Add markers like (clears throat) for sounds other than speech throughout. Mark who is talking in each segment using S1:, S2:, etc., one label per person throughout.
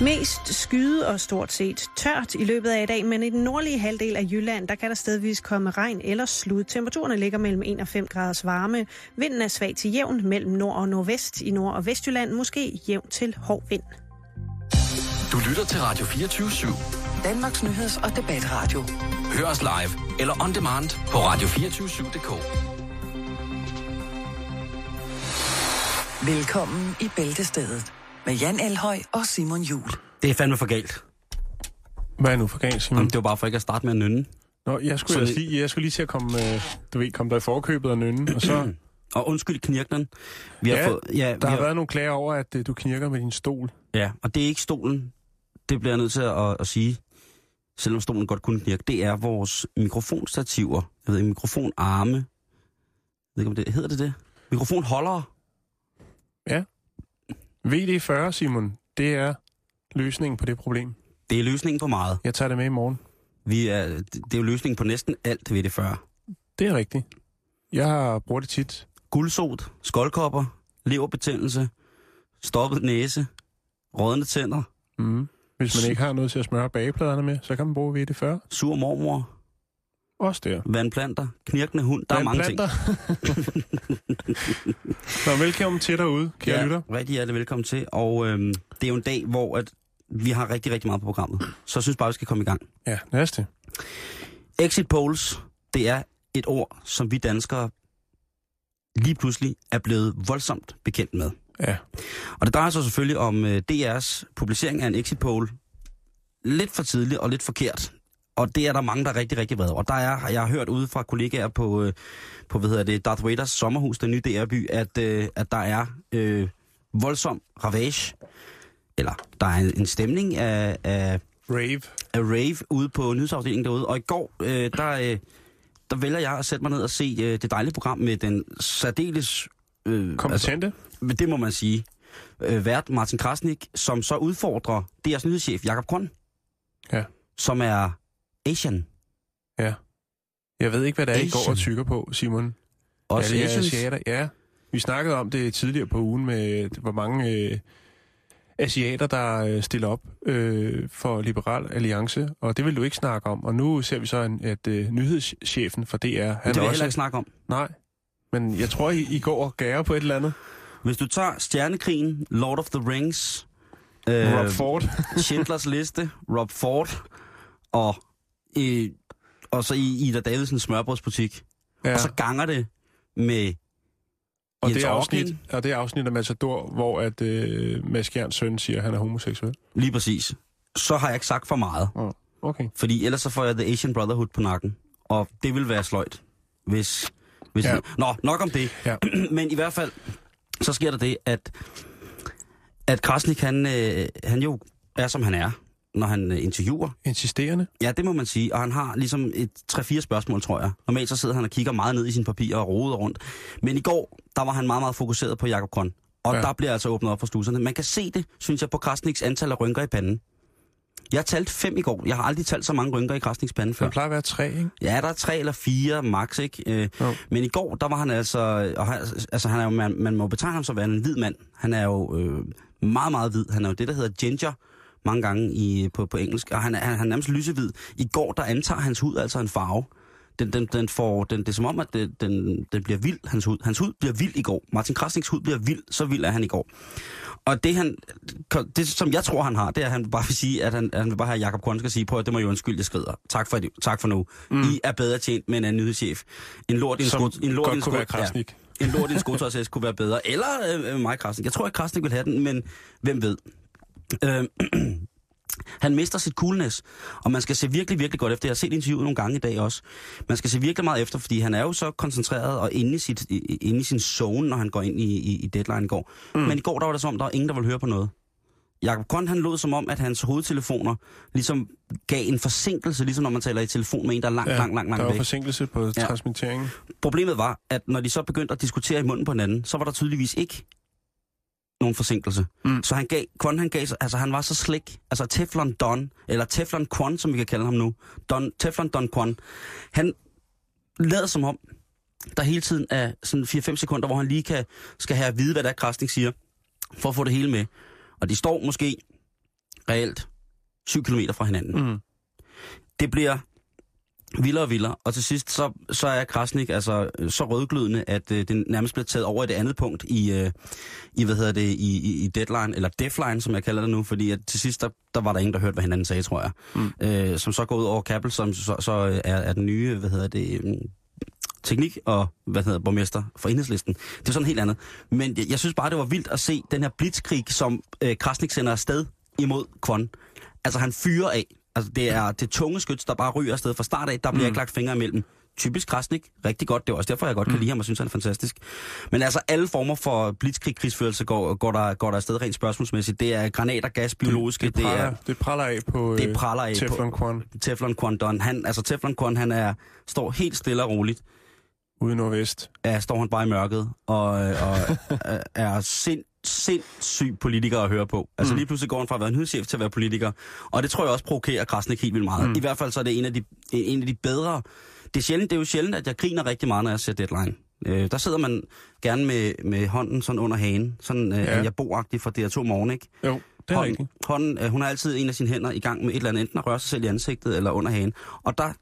S1: Mest skyde og stort set tørt i løbet af i dag, men i den nordlige halvdel af Jylland, der kan der stedvis komme regn eller slud. Temperaturerne ligger mellem 1 og 5 graders varme. Vinden er svag til jævn mellem nord og nordvest. I nord- og vestjylland måske jævn til hård vind.
S2: Du lytter til Radio 24 /7.
S3: Danmarks Nyheds- og Debatradio.
S2: Hør os live eller on demand på radio247.dk.
S3: Velkommen i Bæltestedet med Jan Elhøj og Simon Jul.
S4: Det er fandme for galt.
S5: Mm. Hvad er nu for galt, Simon?
S4: Jamen, det var bare for ikke at starte med at nynne.
S5: Nå, jeg skulle,
S4: Så
S5: ellers
S4: det-
S5: lige, jeg skulle lige til at komme, øh, du ved, komme dig i forkøbet og nynne, og så...
S4: (clears throat) Og undskyld knirkneren. Vi
S5: Ja,
S4: fået, ja, vi
S5: Der har været nogle klager over, at øh, du knirker med din stol.
S4: ja, og det er ikke stolen. Det bliver jeg nødt til at, at sige, selvom stolen godt kunne knirke. Det er vores mikrofonstativer. Jeg ved ikke, mikrofonarme. Jeg ved ikke, om det hedder det det? Mikrofonholdere.
S5: VD40, Simon, det er løsningen på det problem.
S4: Det er løsningen på meget.
S5: Jeg tager det med i morgen.
S4: Vi er, det det er jo løsningen på næsten alt ved det før.
S5: Det er rigtigt. Jeg har brugt det tit.
S4: Guldsot, skoldkopper, leverbetændelse, stoppet næse, rådne tænder,
S5: Mm. Hvis man ikke har noget til at smøre bagepladerne med, så kan man bruge VD40.
S4: sur mormor,
S5: Også der.
S4: vandplanter, knirkende hund. Der er mange ting.
S5: (laughs) Nå, velkommen til derude, kære ja. lytter.
S4: rigtig hjertelig velkommen til. Og øhm, det er jo en dag, hvor at vi har rigtig, rigtig meget på programmet. Så jeg synes bare, vi skal komme i gang.
S5: Ja, næste.
S4: Exit polls, det er et ord, som vi danskere lige pludselig er blevet voldsomt bekendt med.
S5: Ja.
S4: Og det drejer sig selvfølgelig om øh, DR's publicering af en exit poll. Lidt for tidligt og lidt forkert. Og det er der mange, der er rigtig, rigtig vrede over. Der er, jeg har hørt ude fra kollegaer på, øh, på hvad hedder det, Darth Vaders sommerhus, den nye DR-by, at, øh, at der er øh, voldsom ravage. Eller der er en, en stemning af, af,
S5: Rave.
S4: af rave ude på nyhedsafdelingen derude. Og i går, øh, der, øh, der vælger jeg at sætte mig ned og se øh, det dejlige program med den særdeles... Øh,
S5: Kompetente. Altså,
S4: men det må man sige, øh, vært Martin Krasnik, som så udfordrer DR's nyhedschef Jakob Grøn,
S5: Ja.
S4: som er Asian.
S5: ja. Jeg ved ikke, hvad der er, I går
S4: Asian.
S5: og tykker på, Simon.
S4: Også
S5: ja, det er
S4: Asians.
S5: asiater, ja. Vi snakkede om det tidligere på ugen med, øh, hvor mange øh, asiater, der øh, stiller op øh, for Liberal Alliance, og det vil du ikke snakke om. Og nu ser vi så, en, at øh, nyhedschefen for DR, han
S4: Det vil
S5: er
S4: jeg
S5: også...
S4: heller ikke snakke om.
S5: Nej, men jeg tror, I, I går og gærer på et eller andet.
S4: Hvis du tager Stjernekrigen, Lord of the Rings,
S5: Øh... Rob Ford.
S4: (laughs) Schindlers Liste, Rob Ford, og, øh, og så i Ida Davidsens smørbrødsbutik, ja.
S5: ja.
S4: og så ganger det med
S5: og,
S4: Jens
S5: det er afsnit,
S4: Orking.
S5: og det er afsnit af Matador, hvor at, øh, Mads Gjerns søn siger, at han er homoseksuel.
S4: lige præcis, så har jeg ikke sagt for meget.
S5: Okay.
S4: Fordi ellers så får jeg The Asian Brotherhood på nakken. Og det vil være sløjt, hvis... hvis
S5: Ja.
S4: ja. Nå, nok om det.
S5: Ja.
S4: (clears throat) Men i hvert fald, så sker der det, at, at Krasnik, han, øh, han jo er, som han er, når han øh, interviewer.
S5: Insisterende.
S4: Ja, det må man sige. Og han har ligesom et 3-4 spørgsmål, tror jeg. Normalt så sidder han og kigger meget ned i sine papirer og roder rundt. Men i går, der var han meget, meget fokuseret på Jakob Grøn. Og
S5: Ja.
S4: ja. der bliver altså åbnet op for sluserne. Man kan se det, synes jeg, på Krasniks antal af rynker i panden. Jeg talte fem i går. Jeg har aldrig talt så mange rynker i Krasniks pande før.
S5: Der plejer at være tre, ikke?
S4: Ja, der er tre eller fire max, ikke? Øh,
S5: Jo.
S4: Men i går, der var han altså... Og han, altså han er jo, man, man må betegne ham som værende en hvid mand. Han er jo øh, meget, meget hvid. Han er jo det, der hedder ginger mange gange i, på, på engelsk. Og han er, han, han er nærmest lysehvid. I går, der antager hans hud altså en farve. Den, den, den får, den, det er som om, at det, den, den bliver vild, hans hud. Hans hud bliver vild i går. Martin Krasniks hud bliver vild, så vild er han i går. Og det, han, det, som jeg tror, han har, det er, at han bare vil sige, at han, han vil bare have at Jacob Grøn skal sige, på, at det må jo undskylde, jeg skrider. Tak for, det, tak for nu. Mm. I er bedre tjent med en anden nyhedschef. En lort i en
S5: Som
S4: skot, en lort i
S5: godt
S4: en
S5: kunne være
S4: skot, ja,
S5: Krasnik.
S4: en lort i en skotøjshest kunne være bedre. Eller øh, øh, mig, Krasnik. Jeg tror ikke, Krasnik vil have den, men hvem ved. Øh, han mister sit coolness, og man skal se virkelig, virkelig godt efter. Jeg har set interviewet nogle gange i dag også. Man skal se virkelig meget efter, fordi han er jo så koncentreret og inde i, sit, i- i- inde i sin zone, når han går ind i, i, i deadline i går. Mm. Men i går, der var det som om, der var ingen, der ville høre på noget. Jakob Grøn, han lød som om, at hans hovedtelefoner ligesom gav en forsinkelse, ligesom når man taler i telefon med en, der er langt, ja, langt, langt,
S5: der
S4: langt
S5: var
S4: væk.
S5: forsinkelse på ja. transmitteringen.
S4: Problemet var, at når de så begyndte at diskutere i munden på hinanden, så var der tydeligvis ikke nogen forsinkelse.
S5: Mm.
S4: Mm. Så han gav, Kwon, han gav sig, altså han var så slik, altså Teflon Don, eller Teflon Kwon, som vi kan kalde ham nu, Don, Teflon Don Kwon, han lader som om, der hele tiden er sådan 4-5 sekunder, hvor han lige kan, skal have at vide, hvad der Krasnik siger, for at få det hele med. Og de står måske reelt 7 km fra hinanden. Mm.
S5: Mm.
S4: Det bliver vildere og vildere, og til sidst så, så er Krasnik altså øh, så rødglødende, at øh, det nærmest bliver taget over i det andet punkt i, øh, i hvad hedder det, i, i, i deadline, eller deadline, som jeg kalder det nu, fordi at til sidst, der, der var der ingen, der hørte, hvad hinanden sagde, tror jeg. Mm. Øh, som så går ud over Kappel, som så, så øh, er, er den nye, hvad hedder det, øh, teknik og hvad hedder borgmester for enhedslisten. Det er sådan helt andet. Men jeg, jeg synes bare, det var vildt at se den her blitzkrig, som øh, Krasnik sender afsted imod Kvon. Altså han fyrer af. Altså det er det tunge skyts, der bare ryger afsted fra start af. Der bliver mm. ikke lagt fingre imellem. Typisk Krasnik. Rigtig godt. Det er også derfor, jeg godt kan lide ham og synes, han er fantastisk. Men altså alle former for blitzkrig krigsførelse går, går, der, går der afsted rent spørgsmålsmæssigt. Det er granater, gas, biologiske.
S5: det, praller,
S4: er,
S5: det praller af på øh,
S4: det praller af på-
S5: Teflon Quan
S4: Teflon Quan Don. Han, altså Teflon Quan, han er, står helt stille og roligt.
S5: ude i nordvest.
S4: Ja, står han bare i mørket og, øh, og
S5: (laughs)
S4: øh, er sind, sindssyg politiker at høre på. Altså mm. lige pludselig går han fra at være en hudchef til at være politiker. Og det tror jeg også provokerer Krasnik helt vildt meget. Mm. I hvert fald så er det en af de, en af de bedre... Det er, sjældent, det er jo sjældent, at jeg griner rigtig meget, når jeg ser Deadline. Øh, der sidder man gerne med, med hånden sådan under hagen. Sådan øh,
S5: Ja.
S4: ja. jeg agtig fra DR2 Morgen, ikke?
S5: Jo, det er
S4: hånden,
S5: rigtigt.
S4: hånden, øh, hun har altid en af sine hænder i gang med et eller andet, enten at røre sig selv i ansigtet eller under hagen. Og der, og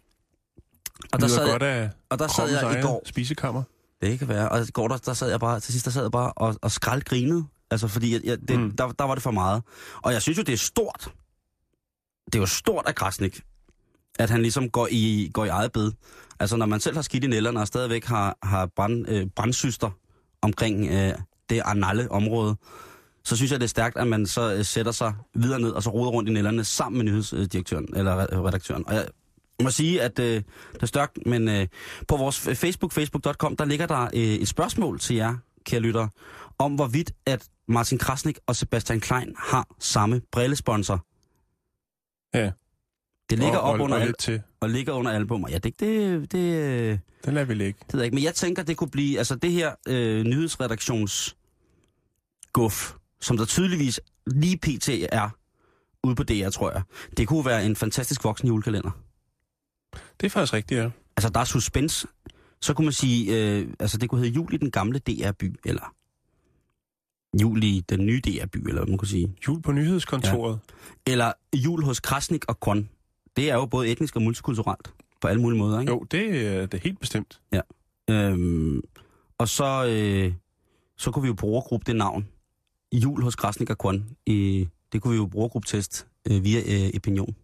S4: der,
S5: Nyder
S4: sad,
S5: godt
S4: jeg,
S5: af
S4: og der sad
S5: kroppens
S4: jeg i
S5: eget
S4: går
S5: Spisekammer.
S4: det kan være. Og i går der, der sad jeg bare, til sidst der sad jeg bare og, og skraldgrinede. Altså fordi, jeg, jeg, det,
S5: Mm.
S4: mm. der, der var det for meget. Og jeg synes jo, det er stort. Det er jo stort af Krasnik, at han ligesom går i, går i eget bed. Altså når man selv har skidt i nælderne og stadigvæk har, har brand, øh, brandsyster omkring øh, det arnalle område, så synes jeg, det er stærkt, at man så øh, sætter sig videre ned og så roder rundt i nælderne sammen med nyhedsdirektøren eller re- redaktøren. Og jeg må sige, at øh, det er stærkt, men øh, på vores f- Facebook, facebook.com, der ligger der øh, et spørgsmål til jer, kære lyttere, om hvorvidt at Martin Krasnik og Sebastian Klein har samme brillesponsor.
S5: Ja.
S4: Det ligger
S5: og,
S4: op
S5: og,
S4: under
S5: og
S4: al-
S5: lidt til.
S4: og ligger under albumer. Ja, det, det, det, øh, det
S5: Den lader vi ligge.
S4: ved jeg ikke. Men jeg tænker, det kunne blive, altså det her øh, nyhedsredaktions guf, som der tydeligvis lige pt. er ude på DR, tror jeg. Det kunne være en fantastisk voksen julekalender.
S5: Det er faktisk rigtigt, ja.
S4: Altså, der er suspense. Så kunne man sige, øh, altså det kunne hedde Jul i den gamle DR-by, eller Jul i den nye DR-by, eller hvad man kunne sige.
S5: Jul på nyhedskontoret. Ja.
S4: Eller Jul hos Krasnik og Kon. Det er jo både etnisk og multikulturelt, på alle mulige måder, ikke?
S5: Jo, det, er- det er helt bestemt.
S4: Øhm, og så, øh, så kunne vi jo brugergruppe det navn. Jul hos Krasnik og Kon. Øh, det kunne vi jo brugergruppetest øh, via øh, opinion.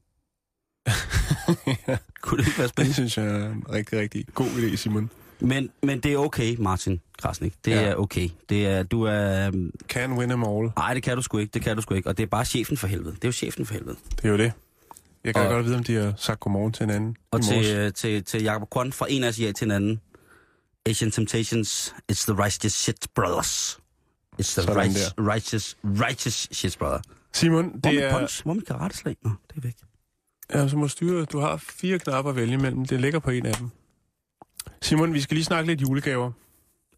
S4: Kunne det ikke være
S5: Det
S4: spændende?
S5: synes jeg er en rigtig, rigtig god idé, Simon.
S4: Men, men det er okay, Martin Krasnik. Det
S5: Ja.
S4: ja. er okay. Det er, du er... øhm,
S5: Can win them all.
S4: Nej, det kan du sgu ikke. Det kan du sgu ikke. Og det er bare chefen for helvede. Det er jo chefen for helvede.
S5: Det er jo det. Jeg kan
S4: Og-
S5: godt vide, om de har sagt godmorgen til hinanden
S4: Og
S5: i morges.
S4: til, øh, til, til Jacob Kron fra en asiat til en anden. Asian Temptations, it's the righteous shit, brothers. It's the
S5: Sådan
S4: righteous, righteous, righteous shit, brother.
S5: Simon,
S4: Hvor er
S5: det
S4: mit
S5: er...
S4: punch? Hvor er mit karateslag? Nå, det er væk.
S5: Ja, så må styre. Du har fire knapper at vælge imellem. Det ligger på en af dem. Simon, vi skal lige snakke lidt julegaver.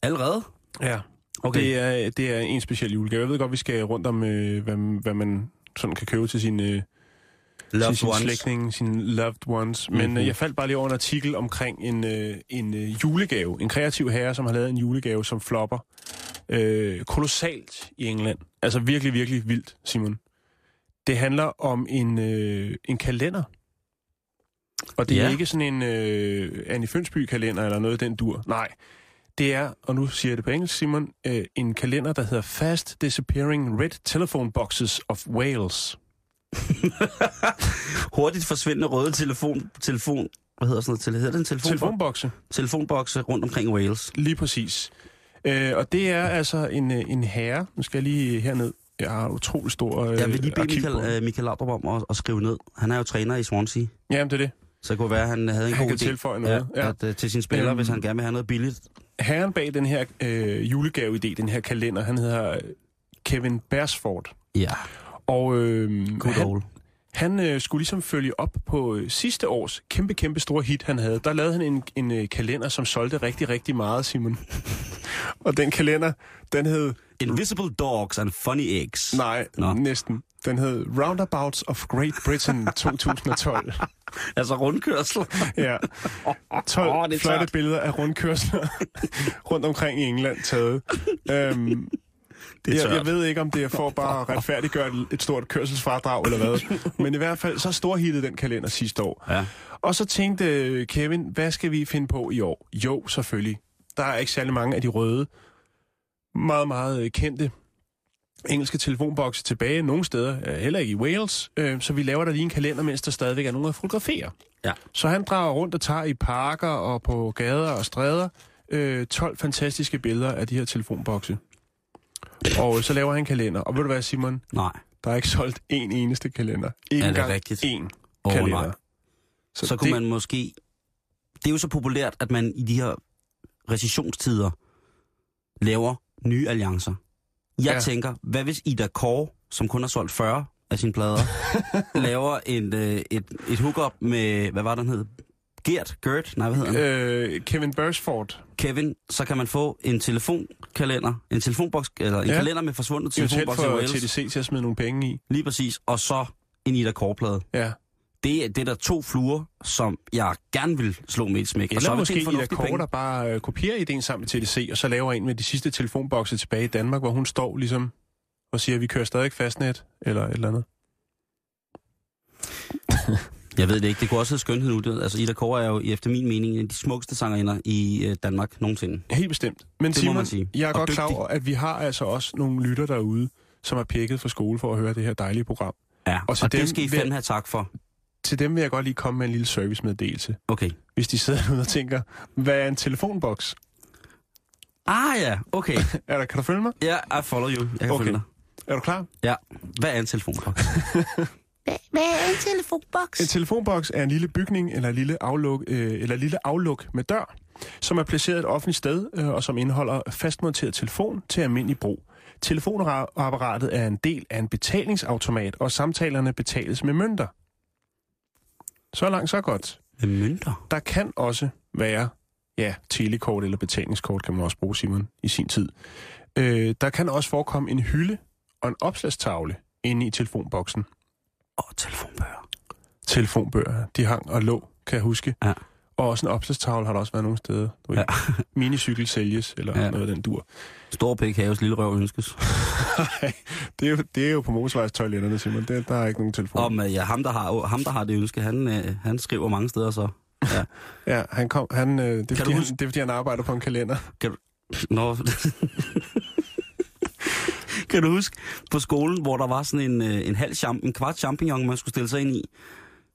S4: Allerede?
S5: Ja. Okay.
S4: Okay.
S5: Det, er, det er en speciel julegave. Jeg ved godt, vi skal rundt om, øh, hvad, hvad man sådan kan købe til sine, øh, til
S4: Loved
S5: sine
S4: ones.
S5: slægtninge, sine loved ones. Men mm-hmm.
S4: Mhm.
S5: øh, jeg faldt bare lige over en artikel omkring en, øh, en øh, julegave. En kreativ herre, som har lavet en julegave, som flopper øh, kolossalt i England. Altså virkelig, virkelig vildt, Simon. Det handler om en, øh, en kalender. Og det ja. er
S4: Ja.
S5: ikke sådan en øh, Annie Fønsby-kalender eller noget af den dur. Nej, det er, og nu siger jeg det på engelsk, Simon, øh, en kalender, der hedder Fast Disappearing Red Telephone Boxes of Wales.
S4: Hurtigt forsvindende røde telefon... telefon hvad hedder sådan noget? Tele- Hedder det en telefon?
S5: Telefonbokse.
S4: Telefonbokse rundt omkring Wales.
S5: Lige præcis. Øh, og det er altså en, øh, en herre. Nu skal jeg lige herned. Jeg har utrolig stor øh,
S4: Jeg vil lige bede Michael,
S5: arkivbog.
S4: øh, Michael Laudrup om at, at, skrive ned. Han er jo træner i Swansea.
S5: Jamen, det er det.
S4: Så det kunne være, at han havde en
S5: Han kan
S4: god idé
S5: tilføje noget,
S4: Ja,
S5: ja.
S4: At, øh, til sine spillere,
S5: Øhm.
S4: hvis han gerne vil have noget billigt.
S5: Herren bag den her øh, julegave-idé, den her kalender, han hedder øh, Kevin Bersford.
S4: Ja,
S5: Og øh,
S4: good
S5: han,
S4: old.
S5: han øh, skulle ligesom følge op på øh, sidste års kæmpe, kæmpe store hit, han havde. Der lavede han en, en øh, kalender, som solgte rigtig, rigtig meget,
S4: (laughs)
S5: Simon. og den kalender, den hed...
S4: Invisible dogs and funny eggs.
S5: Nej, Nå.
S4: Nå.
S5: næsten. Den hed Roundabouts of Great
S4: (laughs)
S5: Britain 2012.
S4: Altså rundkørsel.
S5: (laughs) Ja. 12
S4: Åh,
S5: oh,
S4: det
S5: flotte
S4: er
S5: (laughs)
S4: klart.
S5: billeder af rundkørsler rundt omkring i England taget. øhm,
S6: det er
S5: jeg, jeg
S6: tørt.
S5: ved ikke, om det er for bare at retfærdiggøre et- et stort kørselsfradrag eller
S6: (laughs)
S5: hvad. Men i hvert fald, så storhittede den kalender sidste år.
S6: Ja.
S5: Og så tænkte øh, Kevin, hvad skal vi finde på i år? Jo, selvfølgelig. Der er ikke særlig mange af de røde, meget, meget øh, kendte engelske telefonbokse tilbage nogle steder, øh, heller ikke i Wales, øh, så vi laver der lige en kalender, mens der stadigvæk er nogen, der fotograferer.
S4: Ja.
S5: Så han drager rundt og tager i parker og på gader og stræder øh, 12 fantastiske billeder af de her telefonbokse. Og øh, så laver han en kalender. Og ved du hvad, Simon?
S4: Nej.
S5: Der er ikke solgt én eneste kalender. Ikke
S4: Er det
S5: engang
S4: rigtigt?
S5: én
S4: Åh,
S5: kalender.
S4: nej.
S5: Så,
S4: Så, så kunne
S5: det,
S4: man måske... Det er jo så populært, at man i de her recessionstider laver nye alliancer. Jeg
S5: Ja.
S4: ja. tænker, hvad hvis Ida Kåre, som kun har solgt 40 af sine
S5: (laughs)
S4: plader, laver en, øh, et, et hookup med, hvad var den hed? Gert? Gert? Nej, hvad hedder han?
S5: Øh, Kevin Bersford,
S4: Kevin, så kan man få en telefonkalender, en telefonboks, eller en
S5: Ja.
S4: ja. kalender med forsvundet
S5: det er jo tæt
S4: telefonboks i
S5: for
S4: Wales.
S5: TDC til at smide nogle penge i.
S4: Lige præcis. Og så en Ida Kåre-plade.
S5: Ja.
S4: Det, er- det er der to fluer, som jeg gerne vil slå med et smæk. og så
S5: Eller
S4: er det
S5: måske
S4: en
S5: Ida
S4: fornuftig
S5: Kåre,
S4: penge.
S5: der bare øh, kopierer ideen sammen med TDC, og så laver en med de sidste telefonbokse tilbage i Danmark, hvor hun står ligesom og siger, vi kører stadig fastnet, eller et eller andet.
S4: Jeg ved det ikke. Det kunne også hedde skønhed nu. Det- Altså, Ida Kåre er jo efter min mening en af de smukkeste sangerinder i øh, Danmark nogensinde.
S5: Helt bestemt. Men
S4: Det må
S5: Simon,
S4: man sige.
S5: jeg er
S4: Og
S5: godt klar
S4: dygtig.
S5: over, at vi har altså også nogle lytter derude, som er pækket fra skole for at høre det her dejlige program.
S4: Ja,
S5: Og
S4: og,
S5: til
S4: og
S5: dem
S4: det skal I
S5: vil-
S4: fandme have tak for.
S5: Til dem vil jeg godt lige komme med en lille servicemeddelelse.
S4: Okay.
S5: Hvis de sidder (laughs) derude og tænker, hvad er en telefonboks?
S4: Ah ja, okay.
S5: Er der, kan du følge mig?
S4: Ja, yeah, I follow you. Jeg kan
S5: Okay.
S4: okay. følge dig.
S5: Er du klar?
S4: Ja. Hvad er en telefonboks?
S5: En telefonboks er en lille bygning eller en lille afluk, øh, eller en lille afluk med dør, som er placeret et offentligt sted øh, og som indeholder fastmonteret telefon til almindelig brug. Telefonapparatet er en del af en betalingsautomat, og samtalerne betales med mønter. Så langt, så godt.
S4: Med mønter.
S5: Der kan også være, ja, telekort eller betalingskort kan man også bruge, Simon, i sin tid. Øh, der kan også forekomme en hylde og en opslagstavle inde i telefonboksen
S4: Og telefonbøger.
S5: telefonbøger, de hang og lå, kan jeg huske.
S4: Ja.
S5: Og også en opslagstavle har der også været nogle steder. Du ved,
S4: Ja. (laughs)
S5: Minicykel sælges, eller ja.
S4: Ja.
S5: noget af den dur.
S4: Stor pæk haves, lille røv ønskes.
S5: Det er jo, det er jo på motorvejstoiletterne, Simon. Det, der er ikke nogen telefon.
S4: Om øh, ja, ham, der har, ham, der har det ønske, han, øh, han skriver mange steder så. Ja.
S5: Ja, han kom, han, øh, det, er
S4: Kan
S5: fordi,
S4: du
S5: han,
S4: huske-
S5: det er fordi, han arbejder på en kalender.
S4: Nå. (laughs) kan du huske på skolen, hvor der var sådan en, øh, en halv champ, en kvart champignon, man skulle stille sig ind i?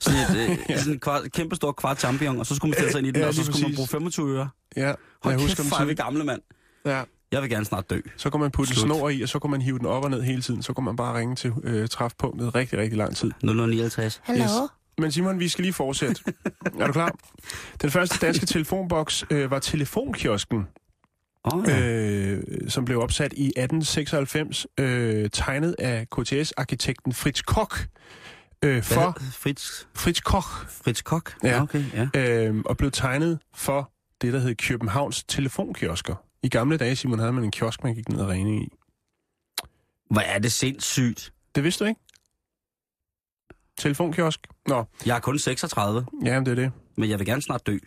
S4: Sådan, et,
S5: (laughs)
S4: øh, ja. sådan en kvart, kæmpe stor kvart champignon, og så skulle man stille sig ind i den,
S5: Ja,
S4: ja, og så
S5: lige
S4: skulle man
S5: præcis.
S4: bruge 25 øre.
S5: Ja,
S4: Hold
S5: jeg
S4: jeg
S5: husker
S4: kæft,
S5: dem
S4: hvor er vi
S5: sådan.
S4: gamle, mand.
S5: Ja.
S4: Jeg vil gerne snart dø.
S5: Så kunne man putte en
S4: Slut.
S5: snor i, og så kunne man hive den op og ned hele tiden. Så kunne man bare ringe til øh, træfpunktet rigtig, rigtig lang tid.
S4: 0059.
S5: Hallo? Yes. Men Simon, vi skal lige
S4: (laughs)
S5: fortsætte. er du klar? Den første danske telefonboks øh, var telefonkiosken.
S4: Åh, oh, ja.
S5: øh, som blev opsat i 1896, øh, tegnet af KTS-arkitekten Fritz Koch. Øh,
S4: Hvad?
S5: for
S4: Fritz,
S5: Fritz Koch.
S4: Fritz Kok?
S5: Ja.
S4: okay, ja.
S5: Øh, og blev tegnet for det, der hed Københavns telefonkiosker. I gamle dage, Simon, havde man en kiosk, man gik ned og ringe i.
S4: Hvor er det sindssygt.
S5: Det vidste du ikke? Telefonkiosk? Nå,
S4: Jeg er kun 36,
S5: ja, men det er det.
S4: men jeg vil gerne snart dø.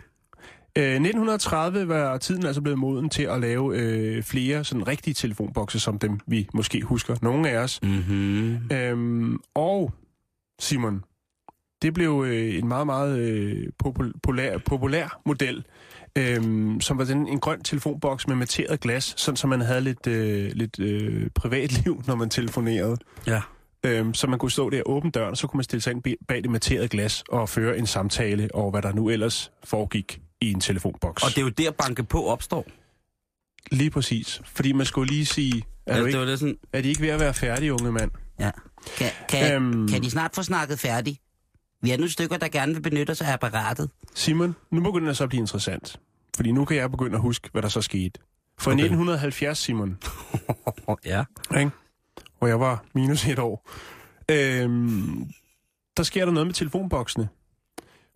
S5: Øh, 1930 var tiden altså blevet moden til at lave øh, flere sådan rigtige telefonbokse, som dem vi måske husker. Nogle af os.
S4: Mm-hmm.
S5: Øhm, og Simon, det blev øh, en meget, meget øh, popul- populær, populær model, øhm, som var den, en grøn telefonboks med materet glas, sådan så man havde lidt, øh, lidt øh, privatliv, (laughs) når man telefonerede.
S4: Ja.
S5: Øhm, så man kunne stå der og åbne døren, og så kunne man stille sig ind bag det materede glas og føre en samtale over, hvad der nu ellers foregik i en telefonboks.
S4: Og det er jo der, banke på opstår.
S5: Lige præcis. Fordi man skulle lige sige, er,
S4: Altså,
S5: du
S4: det
S5: ikke,
S4: var det sådan,
S5: er de ikke ved at være færdige, unge mand?
S4: Ja. Kan, kan,
S5: Øhm.
S4: øhm... kan de snart få snakket færdig? Vi er nu stykker, der gerne vil benytte sig af apparatet.
S5: Simon, nu begynder det så at blive interessant. Fordi nu kan jeg begynde at huske, hvad der så skete. For okay.
S4: Okay.
S5: 1970, Simon,
S4: Oh, ja.
S5: ikke? hvor jeg var minus et år, øhm, der sker der noget med telefonboksene.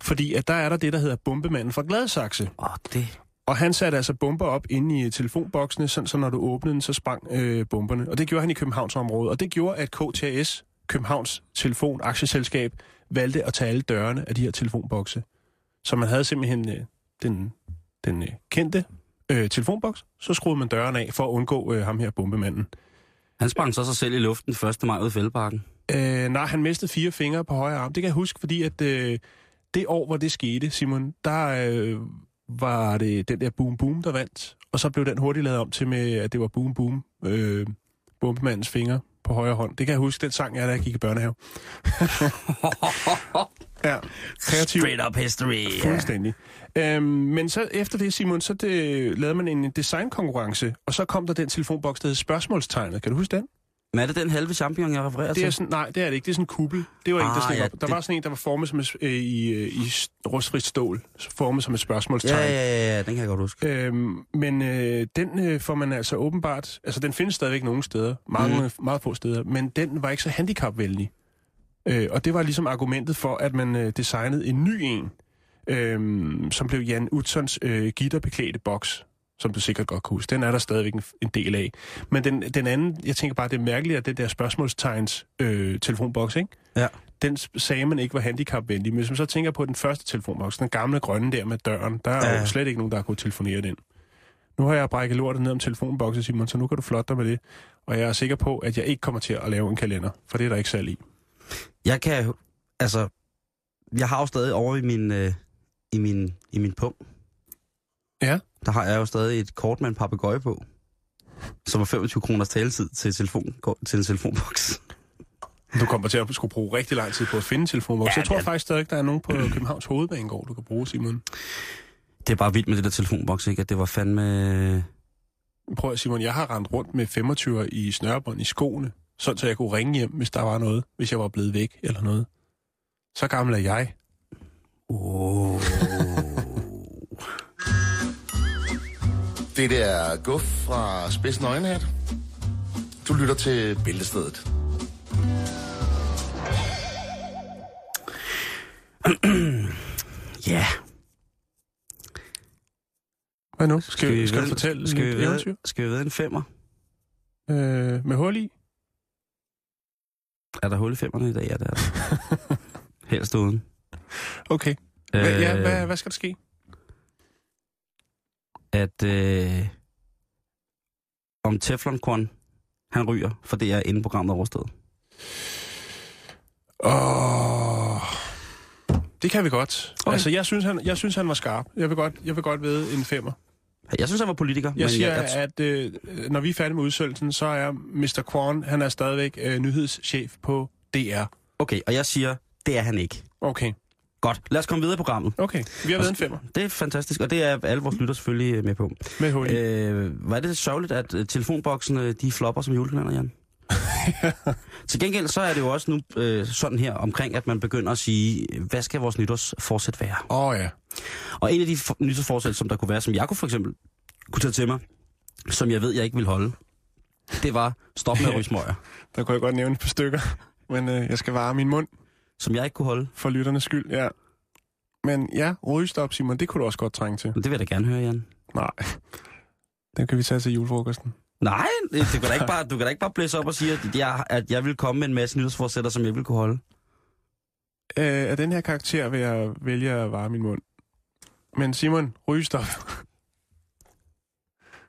S5: Fordi at der er der det, der hedder bombemanden fra Gladsaxe.
S4: Åh, oh, det...
S5: Og han satte altså bomber op inde i telefonboksene, sådan så når du åbnede den, så sprang øh, bomberne. Og det gjorde han i Københavnsområdet. Og det gjorde, at KTS, Københavns Telefon Aktieselskab, valgte at tage alle dørene af de her telefonbokse. Så man havde simpelthen øh, den, den øh, kendte øh, telefonboks, så skruede man døren af for at undgå øh, ham her bombemanden.
S4: Han sprang så sig selv i luften 1. maj ud i Fældeparken.
S5: Øh, nej, han mistede fire fingre på højre arm. Det kan jeg huske, fordi at øh, det år, hvor det skete, Simon, der øh, var det den der Boom Boom, der vandt. Og så blev den hurtigt lavet om til med, at det var Boom Boom, øh, bombemandens fingre på højre hånd. Det kan jeg huske, den sang jeg, da jeg gik i
S4: (laughs)
S5: børnehave. ja, kreativ.
S4: Straight up history.
S5: Fuldstændig. Øhm, men så efter det, Simon, så det, lavede man en designkonkurrence, og så kom der den telefonboks, der hed spørgsmålstegnet. Kan du huske den?
S4: Men er det den halve champion, jeg refererer
S5: Det er
S4: til?
S5: sådan, nej, det er det ikke. Det er sådan en kuppel. Det var ah, en, der
S4: Altså- Ah,
S5: steg
S4: ja,
S5: op. Der
S4: det-
S5: var sådan en, der var formet som et, øh, i, øh, i s- rustfrit stål. Formet som et spørgsmålstegn.
S4: Ja, ja, ja, ja, den kan jeg godt huske.
S5: Øhm, men øh, den øh, får man altså åbenbart... Altså, den findes stadigvæk nogle steder.
S4: Mhm.
S5: Mange, mm. Meget få steder. Men den var ikke så handicapvenlig. Øh, og det var ligesom argumentet for, at man øh, designede en ny en, øh, som blev Jan Utzons øh, gitterbeklædte boks, som du sikkert godt kan huske. Den er der stadigvæk en, en del af. Men den, den anden, jeg tænker bare, det er mærkeligt, at den der spørgsmålstegns øh, telefonboks, ikke?
S4: Ja.
S5: den s- sagde man ikke var handicapvenlig. Men hvis man så tænker på den første telefonboks, den gamle grønne der med døren, der er ja.
S4: Ja.
S5: jo slet ikke nogen, der har kunnet telefonere den. Nu har jeg brækket lortet ned om telefonboksen, Simon, så nu kan du flotte dig med det. Og jeg er sikker på, at jeg ikke kommer til at lave en kalender, for det er der ikke salg i.
S4: Jeg kan, altså, jeg har jo stadig over i min, øh, i min, i min pung.
S5: Ja.
S4: Der har jeg jo stadig et kort med en papegøje på, som er 25 kroners taletid til, telefon, til en telefonboks.
S5: Du kommer til at skulle bruge rigtig lang tid på at finde telefonboks. Ja,
S4: Ja,
S5: jeg tror
S4: det-
S5: faktisk stadig, der er nogen på Københavns Hovedbanegård, du kan bruge, Simon.
S4: Det er bare vildt med det der telefonboks, ikke? At det var fandme...
S5: Prøv at Simon, jeg har rendt rundt med 25 i snørbånd i skoene, sådan så jeg kunne ringe hjem, hvis der var noget, hvis jeg var blevet væk eller noget. Så gammel er jeg.
S4: Oh.
S6: Det der guf fra Spidsen Øjenhat. Du lytter til Bæltestedet.
S4: Ja.
S5: Hvad nu? Skal, skal, vi, skal du fortælle
S4: skal vi,
S5: et
S4: ved,
S5: eventyr?
S4: skal vi ved en femmer?
S5: Øh, med hul i?
S4: Er der hul i femmerne i dag? Ja, det er der.
S5: (laughs)
S4: Helst uden.
S5: Okay. Hva, øh... ja, hvad, hvad skal der ske?
S4: at øh, om Teflonkorn, han ryger, for det er inden programmet er overstået.
S5: Åh... Det kan vi godt. Okay.
S4: Okay.
S5: Altså, jeg synes, han, jeg synes, han var skarp. Jeg vil godt, jeg vil godt ved en femmer.
S4: Jeg synes, han var politiker,
S5: Jeg
S4: men
S5: siger,
S4: jeg, jeg,
S5: at øh, når vi er færdige med udsendelsen, så er Mr. Kwan, han er stadigvæk øh, nyhedschef på DR.
S4: okay, og jeg siger, det er han ikke.
S5: Okay,
S4: Godt, lad os komme videre i programmet.
S5: okay. Vi har været en femmer.
S4: Det er fantastisk, og det er alle vores lytter selvfølgelig øh, med på.
S5: Med hul i.
S4: Øh, var det sørgeligt, at øh, telefonboksene de flopper som julekalender,
S5: (laughs)
S4: Jan? Til gengæld så er det jo også nu øh, sådan her omkring, at man begynder at sige, øh, hvad skal vores nytårsforsæt være?
S5: Åh oh, ja.
S4: Og en af de for- nytårsforsæt, som der kunne være, som jeg kunne for eksempel kunne tage til mig, som jeg ved, jeg ikke ville holde, det var stop med at ryge smøger, (laughs)
S5: Der kunne jeg godt nævne et par stykker, (laughs) men øh, jeg skal vare min mund
S4: som jeg ikke kunne holde.
S5: for lytternes skyld, ja. Men ja, rygestop, Simon, det kunne du også godt trænge til.
S4: Men det vil jeg da gerne høre, Jan.
S5: Nej. Den kan vi tage til julefrokosten.
S4: Nej, det, du, kan da ikke bare, du kan da ikke bare blæse op og sige, at jeg, at jeg ville komme med en masse nytårsforsætter, som jeg ville kunne holde.
S5: Øh, af den her karakter vil jeg vælge at vare min mund. Men Simon, rygestop. (laughs)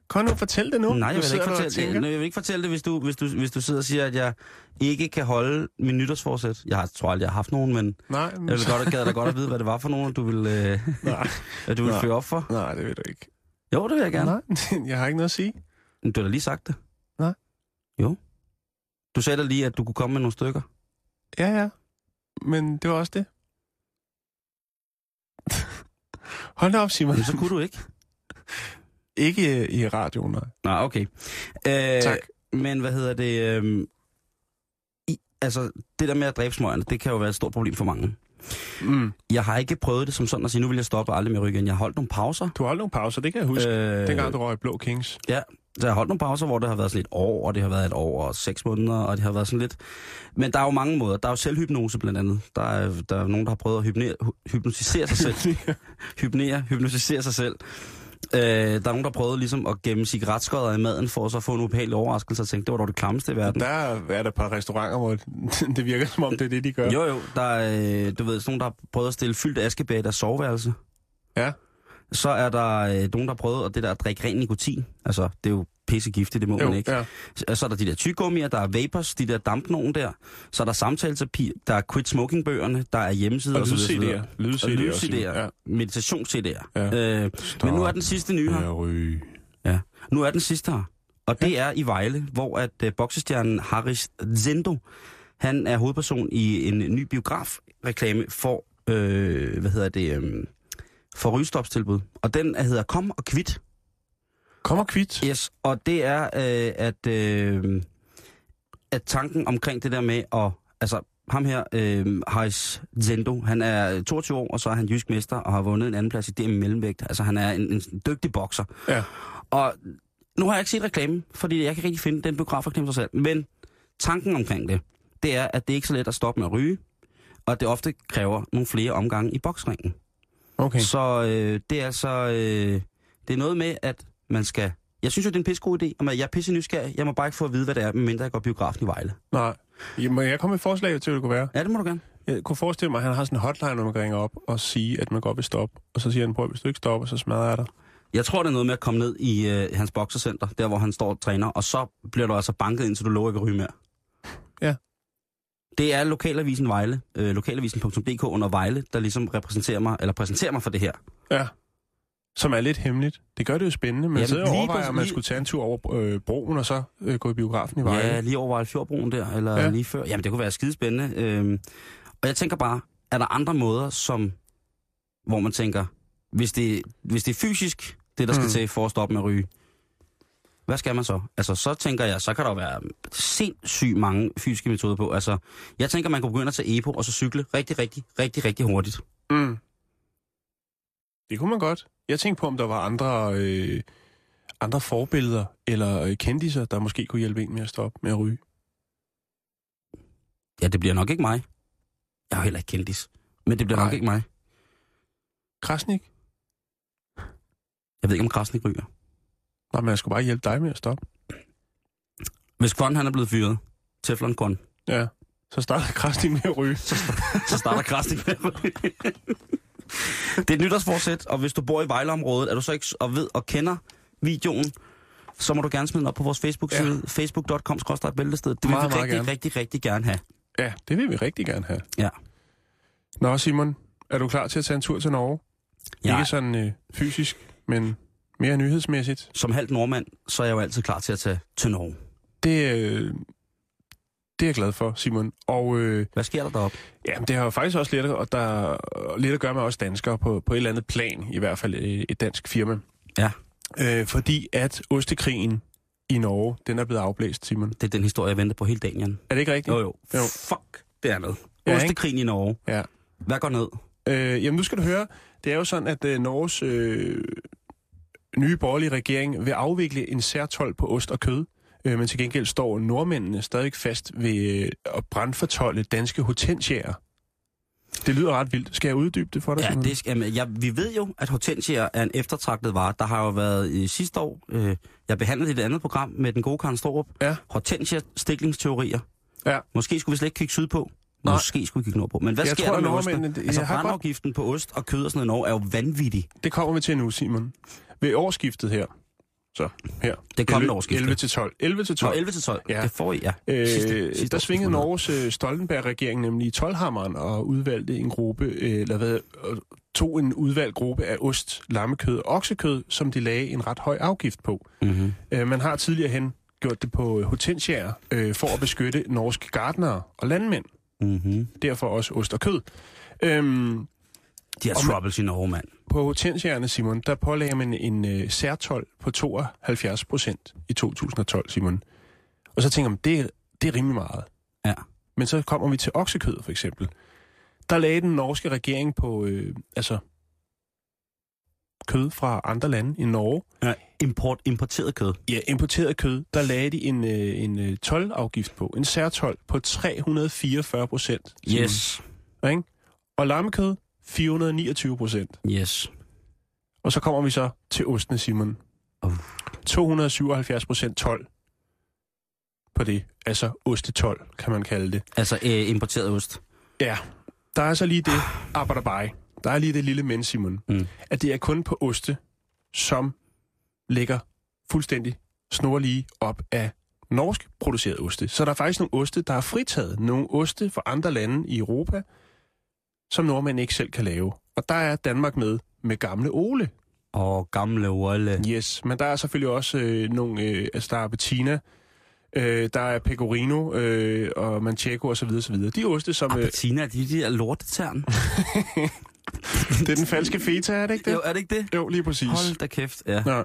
S5: Kom nu, fortæl det nu.
S4: Nej, jeg
S5: Du
S4: vil, ikke
S5: sidder der og
S4: fortælle,
S5: tænker.
S4: det. jeg vil ikke fortælle det, hvis du, hvis, du, hvis du sidder og siger, at jeg ikke kan holde min nytårsforsæt. Jeg har, tror aldrig, jeg har haft nogen, men
S5: Nej, men,
S4: jeg ville godt, gad da godt at vide, hvad det var for nogen, du ville, øh,
S5: (laughs) nej,
S4: at du ville
S5: Nej.
S4: føre op for.
S5: nej, det vil du ikke.
S4: Jo, det vil jeg gerne.
S5: Nej, (laughs) jeg har ikke noget at sige.
S4: Men Du har da lige sagt det.
S5: Nej.
S4: Jo. Du sagde da lige, at du kunne komme med nogle
S5: (laughs)
S4: stykker.
S5: Ja, ja. Men det var
S4: (laughs)
S5: også det. Hold da op, Simon.
S4: Men så kunne du ikke.
S5: Ikke øh, i radioen, nej.
S4: Nå, okay. Øh,
S5: Tak.
S4: Men hvad hedder det? Øh, i, altså, det der med at dræbe smøgerne, det kan jo være et stort problem for mange.
S5: Mm.
S4: Jeg har ikke prøvet det som sådan at sige, nu vil jeg stoppe og aldrig mere ryge igen. Jeg har holdt nogle pauser.
S5: Du har holdt nogle pauser, det kan jeg huske. Øh... Dengang du røg i Blå Kings.
S4: Så jeg har holdt nogle pauser, hvor det har været sådan et år, og det har været et år og seks måneder, og det har været sådan lidt... Men der er jo mange måder. Der er jo selvhypnose blandt andet. Der er, der er nogen, der har prøvet at hypnere, hy- hypnotisere sig selv. hypnere, hypnotisere sig selv. Øh, der er nogen, der prøvede ligesom at gemme cigaretskodder i maden, for så at få en ubehagelig overraskelse og tænke, det var dog det klammeste i verden.
S5: Der er der et par restauranter, hvor (laughs) det virker som om, det er det, de gør.
S4: Jo jo, der er, øh, du ved, sådan nogen, der har prøvet at stille fyldt askebær i deres soveværelse.
S5: Ja.
S4: Så er der øh, nogen, der har prøvet, og det der at drikke ren nikotin, altså det er jo pissegiftigt, det må jo, man ikke.
S5: ja.
S4: Ja. Øh, Så er der de der tyggegummier, der er vapors, de der dampnogen der. Så er der samtaleterapi, der er quit smoking-bøgerne, der er hjemmesider
S5: Og
S4: så videre, så
S5: lyd-CD'er.
S4: videre. Og
S5: Lyd-CD'er. også,
S4: lyd-CD'er, ja.
S5: Ja.
S4: meditations-CD'er.
S5: Ja.
S4: Ja. Øh, men nu er den sidste nye her.
S5: Ja, ry.
S4: Ja. Nu er den sidste her. Og det er i Vejle, hvor at øh, boksestjernen Haris Zendo, han er hovedperson i en ny biografreklame for, øh, hvad hedder det, øh, for rygestopstilbud. Og den øh, hedder Kom og Kvit.
S5: Kom og kvit.
S4: Yes, og det er, øh, at, øh, at tanken omkring det der med at... Altså, ham her, øh, Haris Zendo, han er 22 år, og så er han jysk mester, og har vundet en anden plads i DM mellemvægt. Altså, han er en, en dygtig bokser.
S5: Ja.
S4: Og nu har jeg ikke set reklamen, fordi jeg kan ikke rigtig finde den biografreklame sig selv. Men tanken omkring det, det er, at det ikke er så let at stoppe med at ryge, og at det ofte kræver nogle flere omgange i boksringen.
S5: Okay.
S4: Så øh, det er altså... Øh, det er noget med, at man skal... Jeg synes jo, det er en pissegod idé, og man- jeg er pisse nysgerrig. Jeg må bare ikke få at vide, hvad det er, medmindre jeg går i biografen i Vejle.
S5: Nej. Ja, Må jeg komme med et forslag til, hvad det kunne være?
S4: Ja, det må du gerne.
S5: Jeg kunne forestille mig, at han har sådan en hotline, når man ringer op og siger, at man godt vil stoppe. Og så siger han, prøv, hvis du ikke stopper, så smadrer jeg dig.
S4: Jeg tror, det er noget med at komme ned i øh, hans boksercenter, der hvor han står og træner, og så bliver du altså banket, indtil du lover ikke at ryge mere.
S5: Ja.
S4: Det er Lokalavisen Vejle, øh, lokalavisen.dk under Vejle, der ligesom repræsenterer mig, eller præsenterer mig for det her.
S5: Ja. Som er lidt hemmeligt. Det gør det jo spændende. Man Jamen,
S4: Jamen,
S5: sidder og
S4: lige
S5: overvejer,
S4: præcis-
S5: at man
S4: lige-
S5: skulle tage en tur over øh, broen, og så øh, gå i biografen i Vejle.
S4: Ja, lige over Vejlefjordbroen der, eller ja.
S5: Ja.
S4: lige før. Jamen, det kunne være skidespændende. Øhm, og jeg tænker bare, er der andre måder, som, hvor man tænker, hvis det, hvis det er fysisk, det der skal mm.
S5: Mm.
S4: til for at stoppe med at ryge, hvad skal man så? Altså, så tænker jeg, så kan der jo være sindssygt mange fysiske metoder på. Altså, jeg tænker, man kunne begynde at tage EPO og så cykle rigtig, rigtig, rigtig, rigtig hurtigt.
S5: Mm. Det kunne man godt. Jeg tænkte på, om der var andre, øh, andre forbilleder eller øh, kendiser, der måske kunne hjælpe en med at stoppe med at ryge.
S4: Ja, det bliver nok ikke mig. Jeg er jo heller ikke kendis. Men det bliver Nej. nok
S5: Nej.
S4: ikke mig.
S5: Krasnik?
S4: Jeg ved ikke, om Krasnik ryger.
S5: Nej, men jeg skulle bare hjælpe dig med at stoppe.
S4: Hvis Kvon, han er blevet fyret, Teflon Kvon,
S5: Ja. Så starter Krasnik med at ryge.
S4: så
S5: (laughs)
S4: starter krasning med at ryge. Det er et nytårsforsæt, og hvis du bor i Vejleområdet, er du så ikke s- og ved og kender videoen, så må du gerne smide den op på vores Facebook-side, ja. facebook.com bæltested. Det vil
S5: Meget,
S4: vi
S5: meget
S4: rigtig,
S5: gerne.
S4: rigtig, rigtig gerne have.
S5: Ja, det vil vi rigtig gerne have.
S4: Ja.
S5: Nå, Simon, er du klar til at tage en tur til Norge?
S4: Jeg,
S5: Ikke sådan øh, fysisk, men mere nyhedsmæssigt.
S4: som halvt nordmand, så er jeg jo altid klar til at tage til Norge.
S5: Det, øh, det er jeg glad for, Simon. Og øh,
S4: Hvad sker der deroppe?
S5: Ja, men det har jo faktisk også lidt at, og der, og lidt at gøre med os danskere på, på et eller andet plan, i hvert fald øh, et dansk firma.
S4: Ja.
S5: Øh, fordi at Ostekrigen i Norge, den er blevet afblæst, Simon.
S4: Det er den historie, jeg venter på hele dagen, Jan.
S5: Er det ikke rigtigt?
S4: Jo, jo.
S5: Jo.
S4: Fuck, det er noget.
S5: Ja,
S4: Ja,
S5: ikke?
S4: Ostekrigen i Norge.
S5: Ja.
S4: Hvad går ned?
S5: Øh, jamen, nu skal du høre. Det er jo sådan, at øh, Norges øh, nye borgerlige regering vil afvikle en særtol på ost og kød. Øh, men til gengæld står nordmændene stadig fast ved øh, at brandfortolle danske hortensiaer. Det lyder ret vildt. Skal jeg uddybe det for dig?
S4: Ja,
S5: Simon?
S4: det skal, jamen, jeg, vi ved jo, at hortensia er en eftertragtet vare. Der har jo været øh, sidste år, øh, jeg behandlede et andet program med den gode Karen Storup,
S5: Ja.
S4: hortensia-stiklingsteorier.
S5: Ja.
S4: Måske skulle vi slet ikke kigge sydpå.
S5: Nej.
S4: Måske skulle vi kigge nordpå. Men hvad
S5: Jeg
S4: sker
S5: tror,
S4: der med
S5: at
S4: osten?
S5: nordmændene-
S4: Altså,
S5: jeg har godt-
S4: brandafgiften på ost og kød og sådan noget i Norge er jo vanvittig.
S5: Det kommer vi til nu, Simon. Ved årsskiftet her. Så, her.
S4: Det kommende årsskifte.
S5: 11 til 12. 11 til 12.
S4: Fra 11 til 12.
S5: Ja.
S4: Det får I, ja.
S5: Øh,
S4: Sidste- sidste
S5: der
S4: år,
S5: svingede
S4: 2000.
S5: Norges øh, Stoltenberg-regering nemlig i 12-hammeren og udvalgte en gruppe, øh, eller hvad, og tog en udvalgt gruppe af ost, lammekød og oksekød, som de lagde en ret høj afgift på.
S4: Mhm.
S5: Øh, man har tidligere hen gjort det på øh, hortensiaer øh, for at beskytte norske gartnere og landmænd.
S4: Mhm.
S5: Derfor også ost og kød. Øhm,
S4: De har
S5: Og man-
S4: troubles i Norge, mand.
S5: På hortensierne, Simon, der pålagde man en øh, særtol på 72 procent i 2012, Simon. Og så tænker man, det, er- det er rimelig meget.
S4: Ja.
S5: Men så kommer vi til oksekød, for eksempel. Der lagde den norske regering på, øh, altså, kød fra andre lande end Norge.
S4: ja. Import, importeret kød.
S5: Ja, importeret kød, der lagde de en, øh, en øh, tolvafgift på. En særtol på 344 procent.
S4: Yes.
S5: Ikke? Og lammekød, 429 procent.
S4: Yes.
S5: Og så kommer vi så til ostene, Simon.
S4: Uh.
S5: 277 procent 12 på det. Altså ostetol, kan man kalde det.
S4: Altså øh, importeret ost.
S5: Ja, der er så lige det, arbejderbej. Der er lige det lille men, Simon.
S4: Mm.
S5: At det er kun på oste, som ligger fuldstændig snor lige op af norsk produceret oste. Så der er faktisk nogle oste, der er fritaget. Nogle oste fra andre lande i Europa, som nordmænd ikke selv kan lave. Og der er Danmark med med gamle Ole.
S4: Og gamle Olle.
S5: Yes, men der er selvfølgelig også øh, nogle, øh, altså der er Bettina, øh, der er Pecorino øh, og Manchego osv. osv. De oste, som... Øh,
S4: Appetina, de, de der lortetern.
S5: det er den falske feta, er det ikke det?
S4: jo, er det ikke det?
S5: Jo, lige præcis.
S4: Hold da kæft, ja.
S5: Ja.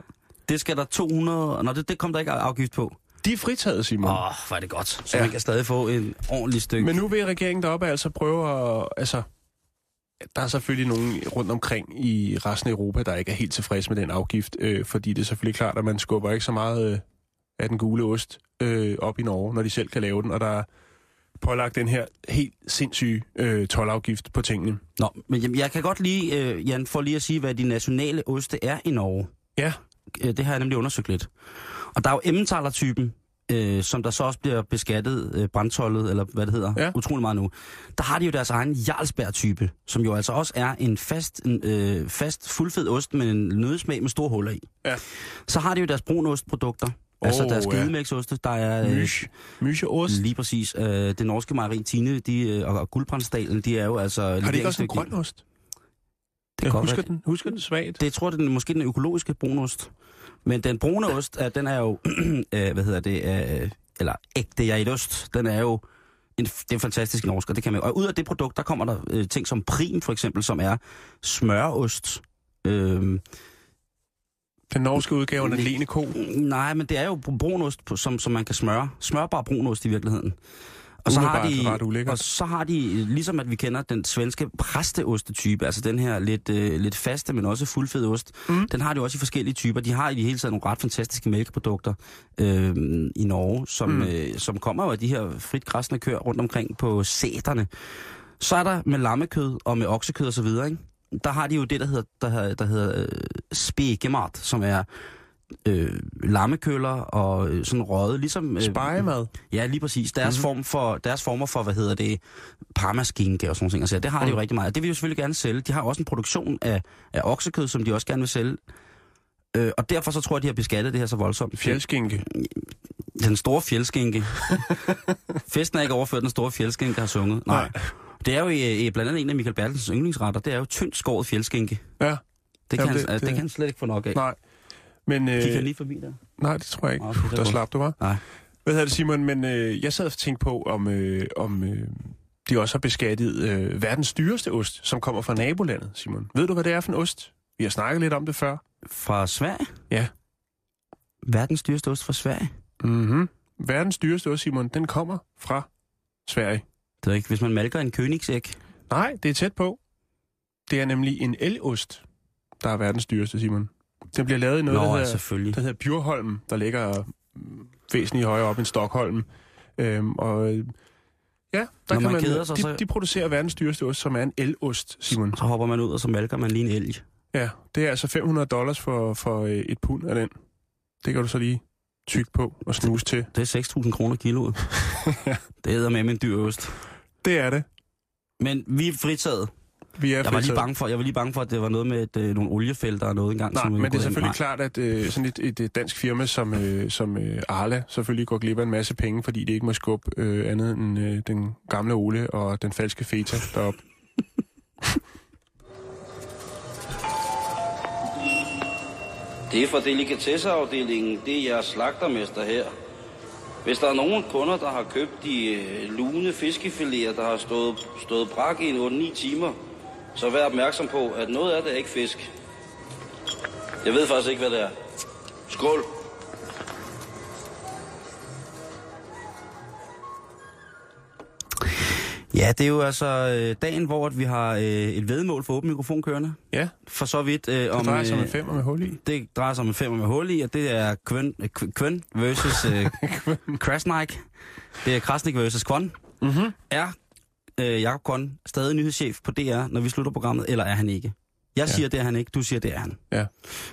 S4: Det skal der 200... Nå, det, det kom der ikke afgift på.
S5: De er fritaget, Simon.
S4: Åh, oh, hvor er det godt. Så
S5: Ja.
S4: ja. man kan stadig få en ordentlig stykke.
S5: Men nu vil regeringen deroppe altså prøve at... Altså, der er selvfølgelig nogen rundt omkring i resten af Europa, der ikke er helt tilfredse med den afgift, øh, fordi det er selvfølgelig klart, at man skubber ikke så meget øh, af den gule ost øh, op i Norge, når de selv kan lave den, og der er pålagt den her helt sindssyge øh, tolvafgift på tingene.
S4: Nå, men jamen, jeg kan godt lige, øh, Jan, for lige at sige, hvad de nationale oste er i Norge.
S5: Ja,
S4: Øh, Det har jeg nemlig undersøgt lidt. Og der er jo emmentaler-typen, øh, som der så også bliver beskattet, øh, brandtollet, eller hvad det hedder,
S5: Ja.
S4: ja. utrolig meget nu. Der har de jo deres egen Jarlsberg-type, som jo altså også er en fast, en, øh, fast fuldfed ost med en nødesmag med store huller i.
S5: Ja.
S4: Så har de jo deres brunostprodukter, oh, altså
S5: Åh,
S4: deres
S5: ja.
S4: gedemælksoste, der er... øh,
S5: mysh. Mysheost.
S4: Lige præcis. Øh, det norske mejeri Tine de, øh, og, og Guldbrandsdalen, de er jo altså...
S5: Har de ikke også en grøn ost?
S4: Det,
S5: Jeg
S4: kan godt
S5: husker
S4: være-
S5: den, husker den svagt.
S4: det jeg tror jeg, den, måske den økologiske brunost. Men den brune ost, er, den er jo... (clears throat) øh, hvad hedder det? Øh, eller ægte jeg ost. Den er jo... En, f- det er fantastisk norsk, og det kan man jo- Og ud af det produkt, der kommer der øh, ting som prim, for eksempel, som er smørost. Øh,
S5: Den norske udgave af en lene ko.
S4: Mm, nej, men det er jo brunost, på- som, som man kan smøre. Smørbar brunost i virkeligheden. Og så, har
S5: Umiddelbart ret
S4: de,
S5: ulækkert.
S4: og så har de, øh, ligesom at vi kender den svenske præsteostetype, altså den her lidt, øh, lidt faste, men også fuldfed ost, mm. den har de også i forskellige typer. De har i det hele taget nogle ret fantastiske mælkeprodukter øh, i Norge, som, mm. øh, som kommer jo af de her frit græsne køer rundt omkring på sæterne. Så er der med lammekød og med oksekød og så videre, ikke? der har de jo det, der hedder, der, hedder- der hedder øh, spegemart, som er øh, lammekøller og øh, sådan røget, ligesom... Øh,
S5: Spejemad.
S4: Ja, lige præcis. Deres, mm-hmm. form for, deres former for, hvad hedder det, parmaskinke og sådan nogle ting. Altså, det har de jo rigtig meget. af. Det vil de jo selvfølgelig gerne sælge. De har også en produktion af, af oksekød, som de også gerne vil sælge. Øh, og derfor så tror jeg, de har beskattet det her så voldsomt.
S5: Fjeldskinke.
S4: Den store
S5: (laughs)
S4: fjeldskinke. Festen er ikke overført, den store fjeldskinke har sunget. Nej.
S5: Nej.
S4: Det er jo øh, blandt andet en af Michael Bertelsens yndlingsretter. Det er jo tyndt skåret fjeldskinke.
S5: Ja,
S4: Det kan,
S5: Jamen,
S4: han, altså-
S5: det-
S4: det, det,
S5: det-
S4: kan han slet ikke få nok af.
S5: nej. Men, øh,
S4: Kigger han lige forbi der?
S5: Nej, det tror jeg ikke.
S4: Nå, okay, det er
S5: der
S4: godt.
S5: slap du, var.
S4: Nej.
S5: Hvad hedder det, Simon? Men øh, jeg sad og tænkte på, om, øh, om øh, de også har beskattet øh, verdens dyreste ost, som kommer fra nabolandet, Simon. Ved du, hvad det er for en ost? Vi har snakket lidt om det før.
S4: Fra Sverige?
S5: Ja.
S4: Verdens dyreste ost fra Sverige?
S5: Mm-hmm. Verdens dyreste ost, Simon, den kommer fra Sverige.
S4: Det er ikke, hvis man malker en kønigsæk.
S5: Nej, det er tæt på. Det er nemlig en elost, der er verdens dyreste, Simon. Den bliver lavet i noget,
S4: Nå, altså,
S5: der
S4: ja,
S5: hedder...
S4: selvfølgelig.
S5: der hedder Bjurholm, der ligger mm, væsentligt højere op end Stockholm. Øhm, og øh, ja, der
S4: Når
S5: kan
S4: man
S5: man,
S4: keder sig,
S5: de,
S4: så-
S5: de producerer verdens dyreste ost, som er en elost, Simon.
S4: Så hopper man ud, og så malker man lige en elg.
S5: Ja, det er altså 500 dollars for, for øh, et pund af den. Det kan du så lige tyk på og snuse til.
S4: Det er 6.000 kroner
S5: (laughs)
S4: kiloet. det hedder med en dyr ost.
S5: Det er det.
S4: Men vi er fritaget.
S5: Vi er
S4: Jeg var lige
S5: fritaget.
S4: bange for, jeg var lige bange for at det var noget med et, øh, nogle oliefelter og noget engang.
S5: Nej,
S4: som
S5: men det er
S4: gået ind.
S5: selvfølgelig
S4: Nej.
S5: klart, at øh, sådan et, et øh, dansk firma som, øh, som øh, Arla selvfølgelig går glip af en masse penge, fordi det ikke må skubbe øh, andet end øh, den gamle Ole og den falske feta derop.
S7: Det er fra delikatesseafdelingen. Det er jeres slagtermester her. Hvis der er nogen kunder, der har købt de øh, lune fiskefiléer, der har stået, stået brak i en 8-9 timer, så vær opmærksom på, at noget af det er ikke fisk. Jeg ved faktisk ikke, hvad det er. Skål!
S4: Ja, det er jo altså øh, dagen, hvor at vi har øh, et vedmål for åben mikrofon kørende.
S5: Ja,
S4: For så vidt øh, om...
S5: det drejer sig om
S4: øh,
S5: en femmer med hul i.
S4: det drejer sig om en femmer med hul i, og det er Kvøn, øh, Kv- Kvøn versus øh, Krasnik. Det er Krasnik versus Kvon. Mm-hmm. Er øh, Jakob Kvon stadig nyhedschef på DR, når vi slutter programmet, eller er han ikke? Jeg siger, det er han ikke. Du siger, det er han.
S5: Ja.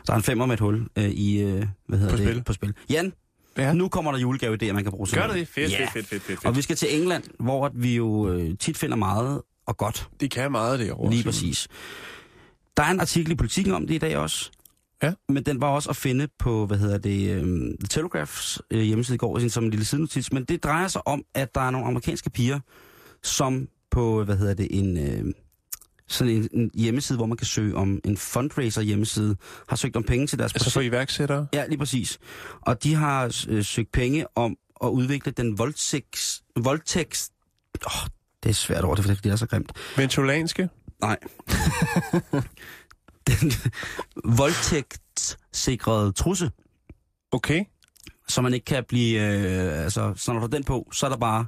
S4: Der er en femmer med et hul øh, i, øh, hvad hedder
S5: På
S4: det?
S5: spil.
S4: På spil. Jan,
S5: Ja.
S4: ja. nu kommer der julegave i DR, man kan bruge. til
S5: Gør
S4: noget.
S5: det det? Fedt,
S4: Ja.
S5: fedt, fedt, fedt, fedt, fedt.
S4: Og vi skal til England, hvor at vi jo øh, tit finder meget og godt
S5: De kan meget derovre.
S4: Lige
S5: Simon.
S4: præcis. Der er en artikel i Politiken om det i dag også.
S5: Ja.
S4: Men den var også at finde på, hvad hedder det, øhm, The Telegraphs øh, hjemmeside i går, sådan som en lille sidenotis. Men det drejer sig om, at der er nogle amerikanske piger, som på, hvad hedder det, en, øh, sådan en, en hjemmeside, hvor man kan søge om en fundraiser hjemmeside, har søgt om penge til deres
S5: Altså for iværksættere?
S4: Ja, lige præcis. Og de har øh, søgt penge om at udvikle den voldtægts... voldtægts oh, det er svært over det, fordi det er så grimt.
S5: Ventulanske?
S4: Nej. (laughs) den voldtægtssikrede trusse,
S5: Okay.
S4: så man ikke kan blive... Øh, altså, så når du har den på, så er der bare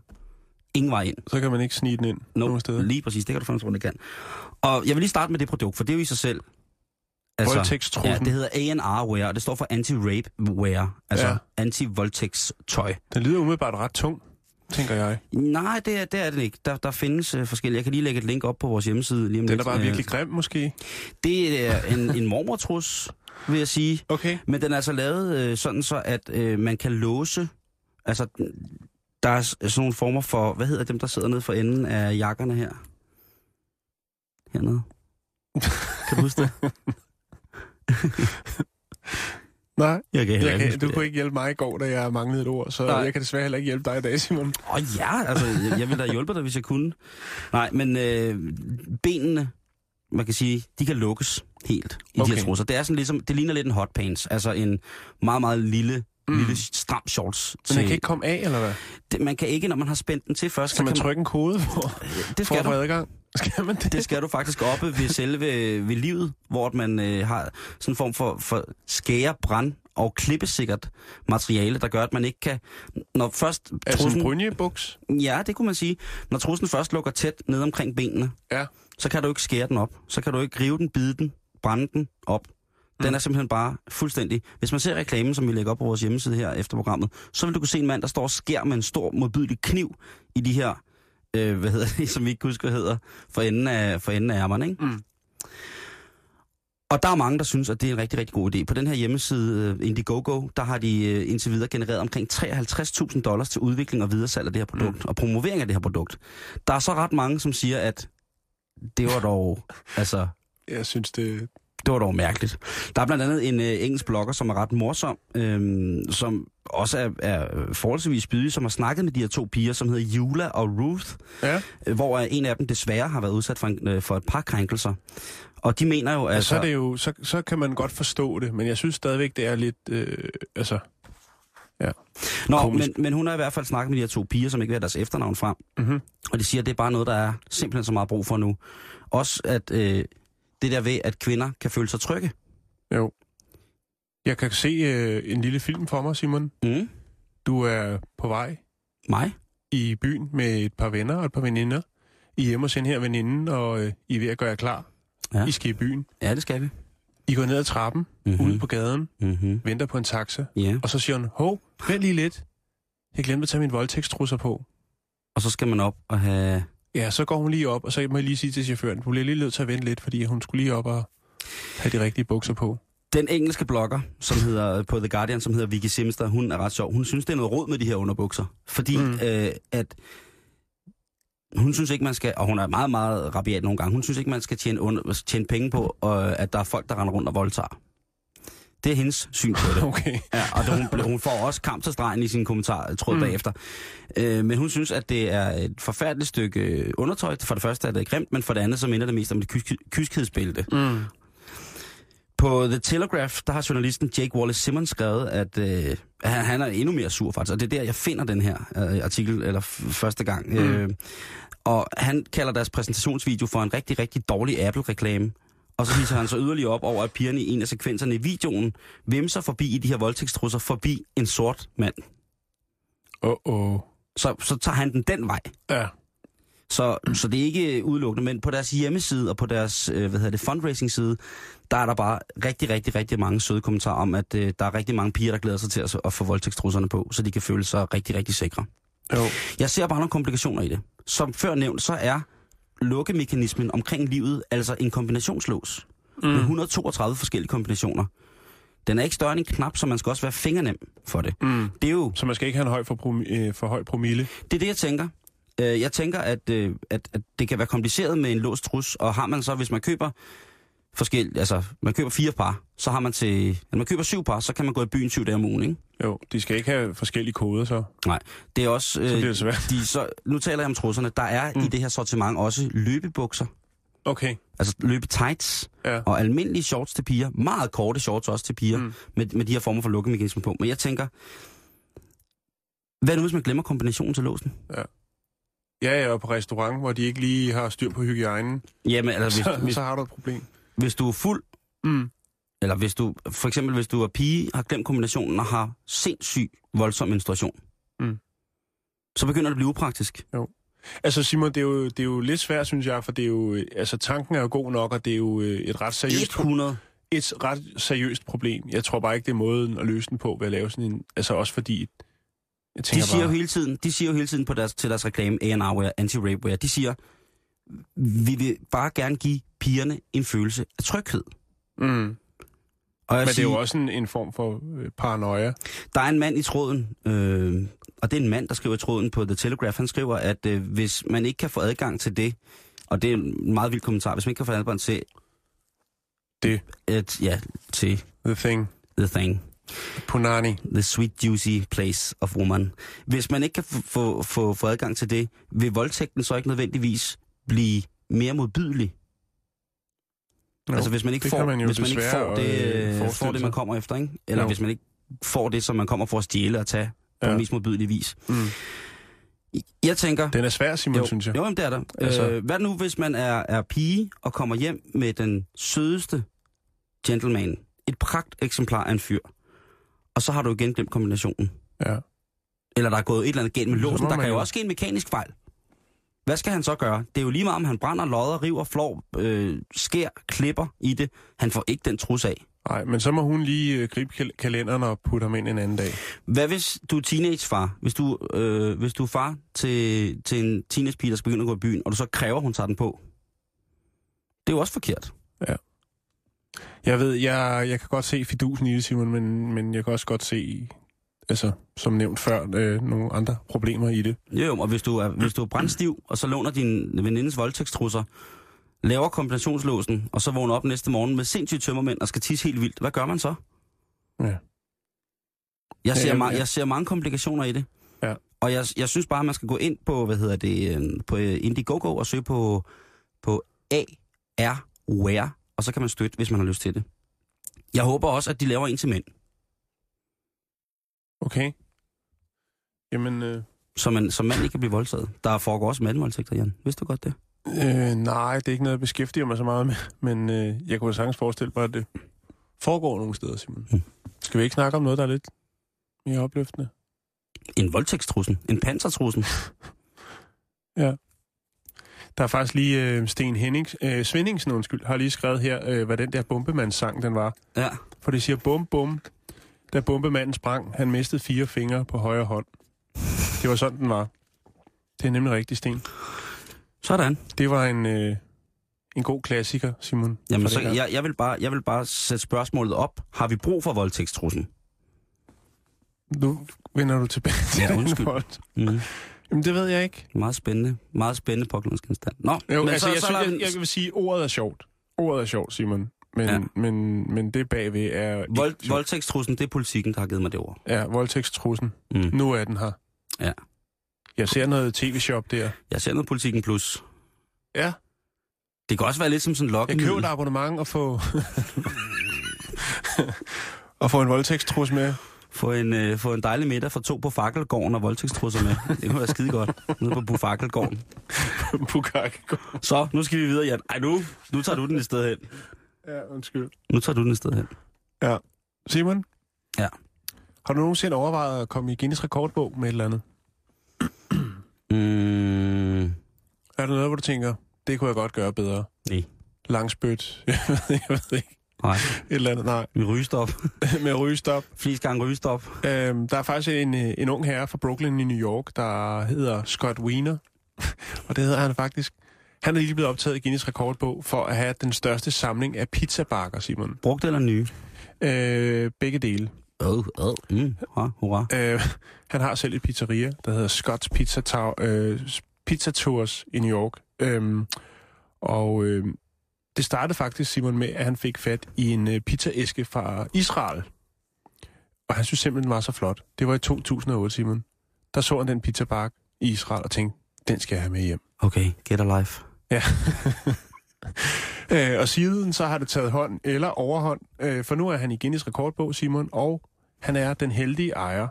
S4: ingen vej ind.
S5: Så kan man ikke snige den ind no. nogen steder.
S4: Lige præcis, det kan du fandme tro, det kan. Og jeg vil lige starte med det produkt, for det er jo i sig selv... altså,
S5: Voldtægtstrussen.
S4: Ja, det hedder A&R-wear, og det står for anti-rape-wear, altså ja.
S5: Ja.
S4: anti-voldtægtstøj.
S5: Den lyder umiddelbart ret tung, tænker jeg.
S4: Nej, det er, det er det ikke. Der, der findes øh, forskellige. Jeg kan lige lægge et link op på vores hjemmeside lige om
S5: Den er
S4: lidt.
S5: bare
S4: Øh,
S5: virkelig grim, måske.
S4: Det er en, en mormortrus, vil jeg sige.
S5: Okay.
S4: Men den er altså lavet øh, sådan så, at øh, man kan låse... Altså, der er s- sådan nogle former for... Hvad hedder dem, der sidder nede for enden af jakkerne her? (laughs) Hernede. Kan du huske det?
S5: Nej,
S4: Jeg kan
S5: jeg kan,
S4: huske
S5: du
S4: det.
S5: kunne ikke hjælpe mig i går, da jeg manglede et ord, så
S4: Nej.
S5: Nej. jeg kan desværre heller ikke hjælpe dig i dag, Simon.
S4: Åh oh, ja, altså, jeg, jeg ville da have hjulpet dig, hvis jeg kunne. Nej, men øh, benene, man kan sige, de kan lukkes helt i okay. de her
S5: Okay.
S4: trusser. Det, er sådan ligesom, det ligner lidt en hot pants, altså en meget, meget lille, mm. lille stram shorts.
S5: Men den kan ikke komme af, eller hvad?
S4: det, man kan ikke, når man har spændt den til først,
S5: Skal man
S4: kan
S5: trykke en kode for,
S4: man, det
S5: for
S4: skal
S5: at få
S4: du.
S5: adgang? (laughs) Skal man det?
S4: (laughs) Det skal du faktisk oppe ved selve ved livet, hvor at man øh, har sådan en form for, for skære, brand og klippesikkert materiale, der gør, at man ikke kan... Når først
S5: Altså en brynjebuks?
S4: Ja, det kunne man sige. Når trussen først lukker tæt ned omkring benene,
S5: Ja.
S4: så kan du ikke skære den op. Så kan du ikke rive den, bide den, brænde den op. Den er simpelthen bare fuldstændig... Hvis man ser reklamen, som vi lægger op på vores hjemmeside her efter programmet, så vil du kunne se en mand, der står og skærer med en stor, modbydelig kniv i de her... Øh, hvad hedder det, (laughs) som vi ikke kan huske, hvad hedder, for enden af, for enden af ærmerne, ikke?
S5: Mm.
S4: Og der er mange, der synes, at det er en rigtig, rigtig god idé. På den her hjemmeside øh, Indiegogo, der har de øh, indtil videre genereret omkring 53.000 dollars til udvikling og videresalg af det her produkt, mm. og promovering af det her produkt. Der er så ret mange, som siger, at det var dog,
S5: (laughs)
S4: altså,
S5: Jeg synes, det...
S4: det var dog mærkeligt. Der er blandt andet en øh, engelsk blogger, som er ret morsom, øhm, som også er, er forholdsvis spydig, som har snakket med de her to piger, som hedder Jula og Ruth,
S5: Ja,
S4: øh, hvor øh, en af dem desværre har været udsat for, en, øh, for et par krænkelser. Og de mener jo,
S5: altså,
S4: altså...
S5: så, er det jo, så, så kan man godt forstå det, men jeg synes stadigvæk, det er lidt... Øh, altså,
S4: Nå,
S5: Komisk.
S4: men, men hun har i hvert fald snakket med de her to piger, som ikke vil have deres efternavn frem.
S5: Mhm.
S4: Og de siger, at det er bare noget, der er simpelthen så meget brug for nu. Også at øh, det der ved, at kvinder kan føle sig trygge.
S5: jo. Jeg kan se øh, en lille film for mig, Simon.
S4: Mm.
S5: Du er på vej
S4: Mig?
S5: i byen med et par venner og et par veninder. I er hjemme hos den her veninde, og øh, I er ved at gøre jer klar.
S4: Ja.
S5: Ja. I skal i byen.
S4: Ja, det skal vi.
S5: I går ned ad trappen, mm-hmm. ude på gaden,
S4: Mm-hmm.
S5: venter på en taxa.
S4: Mhm. Ja,
S5: Og så siger hun, hov, vent lige lidt. Jeg glemte at tage min voldtægtstrusser på.
S4: og så skal man op og have...
S5: Ja, så går hun lige op, og så må jeg lige sige til chaufføren, du bliver lige nødt til at vente lidt, fordi hun skulle lige op og have de rigtige bukser på. (laughs)
S4: Den engelske blogger, som hedder på The Guardian, som hedder Vicky Simster, hun er ret sjov. Hun synes, det er noget råd med de her underbukser. Fordi mm.
S5: Mm.
S4: øh, at hun synes ikke, man skal, og hun er meget, meget rabiat nogle gange, hun synes ikke, man skal tjene, under, tjene penge på, og, at der er folk, der render rundt og voldtager. Det er hendes syn på det.
S5: Okay.
S4: (laughs) Ja, og det, hun, blev- hun får også kamp til stregen i sin kommentar, tror mm.
S5: Mm.
S4: bagefter. Øh, men hun synes, at det er et forfærdeligt stykke øh, undertøj. For det første er det grimt, men for det andet så minder det mest om et kysk- kyskhedsbælte.
S5: Mm.
S4: På The Telegraph, der har journalisten Jake Wallace Simmons skrevet, at øh, han, han er endnu mere sur faktisk, og det er der, jeg finder den her øh, artikel, eller f- første gang. Mm. Øh, og han kalder deres præsentationsvideo for en rigtig, rigtig dårlig Apple-reklame. Og så viser han så yderligere op over, at pigerne i en af sekvenserne i videoen vimser forbi i de her voldtægtstrusser forbi en sort mand.
S5: Åh, oh
S4: Så, så tager han den den vej.
S5: Ja.
S4: Så, så det er ikke udelukkende, men på deres hjemmeside og på deres øh, hvad hedder det, fundraising-side, der er der bare rigtig, rigtig, rigtig mange søde kommentarer om, at øh, der er rigtig mange piger, der glæder sig til at, at få voldtægtstrusserne på, så de kan føle sig rigtig, rigtig sikre.
S5: Jo.
S4: Jeg ser bare nogle komplikationer i det. Som før nævnt, så er lukkemekanismen omkring livet altså en kombinationslås mm. med 132 forskellige kombinationer. Den er ikke større end en knap, så man skal også være fingernem for det.
S5: Mm.
S4: Det er jo
S5: Så man skal ikke have en høj for, prom- øh, for høj promille.
S4: det er det, jeg tænker. Øh, Jeg tænker, at, øh, at, at det kan være kompliceret med en låst trus, og har man så, hvis man køber forskellige, altså man køber fire par, så har man til, når man køber syv par, så kan man gå i byen syv dage om ugen, ikke?
S5: Jo, de skal ikke have forskellige koder så.
S4: Nej, det er også,
S5: bliver
S4: øh,
S5: det svært.
S4: de, så, nu taler jeg om trusserne, der er mm. i det her sortiment også løbebukser,
S5: Okay,
S4: altså løbe tights
S5: ja.
S4: og almindelige shorts til piger, meget korte shorts også til piger, mm. med, med de her former for lukkemekanisme på. Men jeg tænker, hvad nu hvis man glemmer kombinationen til låsen?
S5: Ja, jeg er på restaurant, hvor de ikke lige har styr på hygiejnen.
S4: Jamen,
S5: (laughs)
S4: altså,
S5: Så,
S4: hvis, hvis,
S5: så har du et problem.
S4: hvis du er fuld,
S5: Mm.
S4: eller hvis du, for eksempel hvis du er pige, har glemt kombinationen og har sindssyg voldsom menstruation,
S5: Mm.
S4: så begynder det at blive upraktisk.
S5: Altså Simon, det er, jo, det er jo lidt svært, synes jeg, for det er jo, øh, altså, tanken er jo god nok, og det er jo øh, et ret seriøst, pro-
S4: 100.
S5: et ret seriøst problem. Jeg tror bare ikke, det er måden at løse den på ved at lave sådan en... Altså også fordi... Jeg
S4: De
S5: tænker
S4: siger, jo
S5: bare,
S4: hele tiden, de siger jo hele tiden på deres, til deres reklame, A&R Wear, Anti-Rape Wear, de siger, vi vil bare gerne give pigerne en følelse af tryghed.
S5: mm,
S4: Og jeg
S5: men det er
S4: siger-
S5: jo også en, en form for øh, paranoia.
S4: Der er en mand i tråden, øh, og det er en mand, der skriver i tråden på The Telegraph. Han skriver, at øh, hvis man ikke kan få adgang til det, og det er en meget vild kommentar, hvis man ikke kan få adgang til
S5: Det.
S4: At, ja, til
S5: The thing.
S4: the thing,
S5: Punani.
S4: the sweet juicy place of woman. Hvis man ikke kan få, få, få, få adgang til det, vil voldtægten så ikke nødvendigvis blive mere modbydelig?
S5: No.
S4: altså hvis man ikke
S5: det
S4: får,
S5: kan man jo
S4: hvis man ikke
S5: desværre,
S4: får, det,
S5: øh,
S4: øh, får
S5: forestille
S4: det,
S5: sig.
S4: man kommer efter, ikke? Eller
S5: Jo.
S4: hvis man ikke får det, som man kommer for at stjæle og tage på
S5: Ja.
S4: ja. mest modbydelig vis.
S5: Mm.
S4: Jeg tænker,
S5: Den er svær, Simon,
S4: jo,
S5: synes jeg.
S4: Jo, jamen, det er der.
S5: Altså-
S4: Altså. Øh, hvad nu, hvis man er, er pige og kommer hjem med den sødeste gentleman? Et pragt eksemplar af en fyr. Og så har du igen glemt kombinationen.
S5: Ja.
S4: Eller der er gået et eller andet galt med
S5: Så
S4: låsen.
S5: må
S4: Der
S5: man
S4: kan jo
S5: jo-
S4: også ske en mekanisk fejl. Hvad skal han så gøre? Det er jo lige meget, om han brænder, lodder, river, flår, øh, skær, klipper i det. Han får ikke den trus af.
S5: Nej, men så må hun lige øh, gribe kal- kalenderen og putte ham ind en anden dag.
S4: Hvad hvis du er teenagefar? Hvis du, øh, hvis du er far til, til en teenagepige, der skal begynde at gå i byen, og du så kræver, hun tager den på. Det er jo også forkert.
S5: Jeg ved, jeg, jeg kan godt se fidusen i det, Simon, men, men jeg kan også godt se, altså, som nævnt før, øh, nogle andre problemer i det.
S4: Jo, jo, og hvis du er, hvis du er brændstiv, og så låner din venindes voldtægtstrusser, laver kombinationslåsen, og så vågner op næste morgen med sindssyge tømmermænd og skal tisse helt vildt, hvad gør man så?
S5: Ja.
S4: Jeg ser,
S5: Ja, ja,
S4: ma-
S5: ja.
S4: jeg ser mange komplikationer i det.
S5: Ja.
S4: Og jeg, jeg synes bare, at man skal gå ind på, hvad hedder det, øh, på øh, Indiegogo og søge på, på AR-Wear, E og så kan man støtte, hvis man har lyst til det. Jeg håber også, at de laver en til mænd,
S5: Okay? Jamen, øh,
S4: så man som mand ikke kan blive voldtaget. Der foregår også mandvoldtægter, Jan. Vidste du godt det?
S5: øh, nej, det er ikke noget, jeg beskæftiger mig så meget med, (laughs) men øh, jeg kunne jo sagtens forestille mig, at det foregår nogle steder, Simon.
S4: Mm.
S5: Skal vi ikke snakke om noget, der er lidt mere opløftende?
S4: En voldtægtstrussel. En pansertrussel.
S5: Der er faktisk lige øh, Sten Hennings, øh, Svendingsen, undskyld, har lige skrevet her, øh, hvad den der bombemandssang, den var.
S4: Ja.
S5: For det siger bum bum. Da bombemanden sprang, han mistede fire fingre på højre hånd. Det var sådan, den var. Det er nemlig rigtig, Sten.
S4: Sådan.
S5: Det var en, øh, en god klassiker, Simon.
S4: Jamen,
S5: fra
S4: så,
S5: dengang.
S4: jeg, jeg, vil bare, jeg vil bare sætte spørgsmålet op. Har vi brug for voldtægtstruslen?
S5: Nu vender du tilbage til
S4: Ja,
S5: den
S4: undskyld.
S5: bold.
S4: Mm.
S5: Jamen, det ved jeg ikke.
S4: Meget spændende. Meget spændende påklædningsgenstand. Nå,
S5: Jo, altså,
S4: så,
S5: jeg,
S4: så
S5: synes,
S4: lader vi
S5: jeg, jeg vil sige, at ordet er sjovt. Ordet er sjovt, Simon. Men,
S4: Ja.
S5: ja. men, men det bagved er... ikke
S4: Vold,
S5: sjovt.
S4: voldtægtstruslen, det er politikken, der har givet mig det ord.
S5: Ja, voldtægtstrussen.
S4: Mm.
S5: Nu er den her.
S4: Ja.
S5: Jeg ser noget tv-shop der.
S4: Jeg ser noget politikken plus.
S5: Ja.
S4: Det kan også være lidt som sådan en
S5: Jeg
S4: lokkemiddel.
S5: køber et abonnement og
S4: (laughs)
S5: få... og få en voldtægtstrus
S4: (laughs)
S5: med.
S4: Få en, øh, få en dejlig middag for to på Fakkelgården og voldtægtstrusser med. Det kunne være skide godt. Nede på Bufakkelgården.
S5: Bukakegård.
S4: Så, nu skal vi videre, Jan. Ej, nu, nu tager du den et sted hen.
S5: Ja, undskyld.
S4: Nu tager du den et sted hen.
S5: Simon?
S4: Ja.
S5: Har du nogensinde overvejet at komme i Guinness rekordbog med et eller andet?
S4: Mm.
S5: Er der noget, hvor du tænker, det kunne jeg godt gøre bedre?
S4: Nej.
S5: Langspyt? (laughs) Jeg ved, jeg ved ikke.
S4: Nej,
S5: Et eller andet, nej.
S4: min rygestop.
S5: med rygestop.
S4: Flest gange rygestop.
S5: Øhm, der er faktisk en, øh, en ung herre fra Brooklyn i New York, der hedder Scott Wiener. (laughs) og det hedder han faktisk. Han er lige blevet optaget i Guinness rekordbog for at have den største samling af pizzabakker, Simon.
S4: Brugt eller nye?
S5: Øh, begge dele.
S4: Ad, ad. Mm, hurra, hurra.
S5: Øh, (laughs) han har selv et pizzeria, der hedder Scott's Pizza, Tow- øh, Pizza Tours i New York. Øhm, og øh, det startede faktisk, Simon, med, at han fik fat i en øh, pizzaæske fra Israel. Og han synes simpelthen, den var så flot. Det var i 2008, Simon. Der så han den pizzabakke i Israel og tænkte, den skal jeg have med hjem.
S4: Okay, get a life.
S5: Ja. (laughs) øh, og siden så har det taget hånd eller overhånd, øh, for nu er han i Guinness rekordbog, Simon, og han er den heldige ejer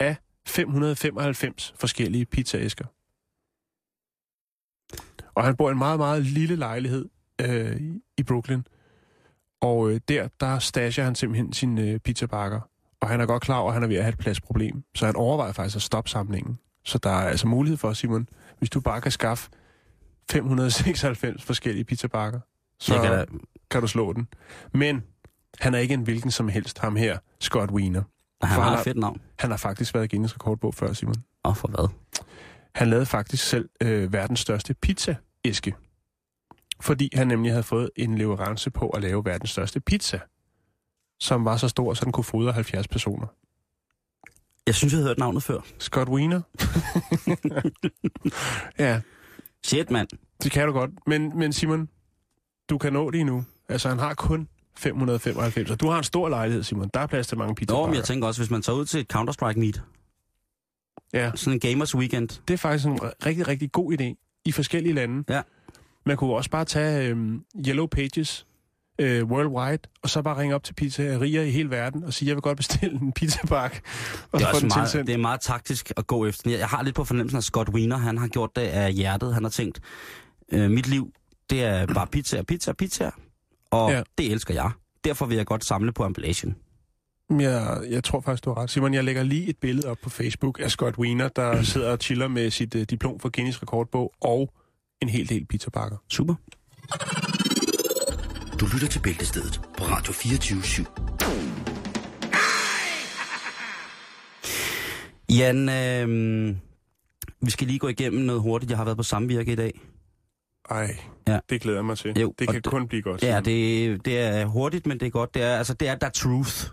S5: af 595 forskellige pizzaæsker. Og han bor i en meget, meget lille lejlighed øh, i- i Brooklyn. Og øh, der, der stasher han simpelthen sine øh, pizzabakker. Og han er godt klar over, at han er ved at have et pladsproblem. Så han overvejer faktisk at stoppe samlingen. Så der er altså mulighed for, Simon, hvis du bare kan skaffe 596 forskellige pizzabakker, så
S4: Jeg kan da,
S5: kan du slå den. Men han er ikke en hvilken som helst, ham her, Scott Wiener.
S4: han
S5: for
S4: har
S5: han
S4: et fedt navn.
S5: Han har faktisk været i Guinness rekordbog før, Simon.
S4: Og for hvad?
S5: Han lavede faktisk selv øh, verdens største pizzaæske. Fordi han nemlig havde fået en leverance på at lave verdens største pizza. Som var så stor, så den kunne fodre 70 personer.
S4: Jeg synes, jeg havde hørt navnet før.
S5: Scott Wiener. (laughs) ja,
S4: Shit, mand.
S5: det kan du godt. Men, men Simon, du kan nå det endnu. Altså, han har kun 595. Og du har en stor lejlighed, Simon. Der er plads til mange pizzabakker.
S4: Nå, men jeg tænker også, hvis man tager ud til et Counter-Strike meet,
S5: Ja.
S4: sådan en gamers weekend,
S5: Det er faktisk en rigtig, rigtig god idé i forskellige lande.
S4: Ja.
S5: Man kunne også bare tage øhm, Yellow Pages øh, worldwide, og så bare ringe op til pizzerier i hele verden og sige, jeg vil godt bestille en pizzabakke, og
S4: Det
S5: så
S4: er,
S5: få
S4: også
S5: den
S4: meget,
S5: tilsendt.
S4: det er meget taktisk at gå efter. Jeg jeg har lidt på fornemmelsen, at Scott Wiener, han har gjort det af hjertet. Han har tænkt, øh, mit liv, det er bare pizza, pizza, pizza. Og
S5: Ja.
S4: ja. det elsker jeg. Derfor vil jeg godt samle på emballagen.
S5: Men Jeg, jeg tror faktisk, du har ret. Simon, jeg lægger lige et billede op på Facebook af Scott Wiener,
S4: Mm.
S5: der sidder og chiller med sit øh, diplom for Guinness Rekordbog og en hel del pizzabakker.
S4: Super.
S2: Du lytter til Bæltestedet på Radio 24 7.
S4: Jan, øh, vi skal lige gå igennem noget hurtigt. Jeg har været på samvirke i dag.
S5: Ej,
S4: Ja.
S5: det glæder jeg mig til.
S4: Jo,
S5: det
S4: og
S5: kan
S4: det-
S5: kun blive godt.
S4: Ja,
S5: Simon.
S4: det, det er hurtigt, men det er godt. Det er, altså, det er der truth,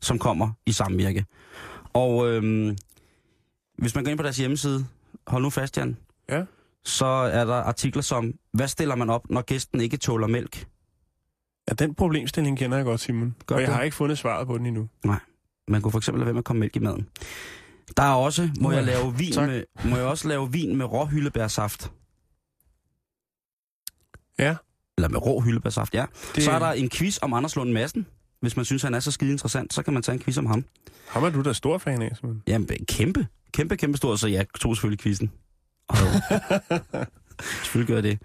S4: som kommer i samvirke. Og øhm, hvis man går ind på deres hjemmeside, hold nu fast, Jan,
S5: Ja.
S4: så er der artikler som, hvad stiller man op, når gæsten ikke tåler mælk?
S5: ja, den problemstilling kender jeg godt, Simon.
S4: Gør
S5: og jeg
S4: du?
S5: har ikke fundet svaret på den endnu.
S4: Man kunne for eksempel lade være med at komme mælk i maden. Der er også, må,
S5: Uha,
S4: jeg, lave vin
S5: tak.
S4: med, må jeg også lave vin med rå hyldebærsaft?
S5: Ja.
S4: Eller med rå hyldebærsaft, ja.
S5: Det...
S4: Så er der en quiz om Anders Lund Madsen. Hvis man synes, han er så skide interessant, så kan man tage en quiz om ham.
S5: Ham er du da stor fan af, Simon.
S4: Jamen, kæmpe. Kæmpe, kæmpe stor, så jeg tog selvfølgelig quizzen.
S5: (laughs)
S4: Og selvfølgelig gør jeg det.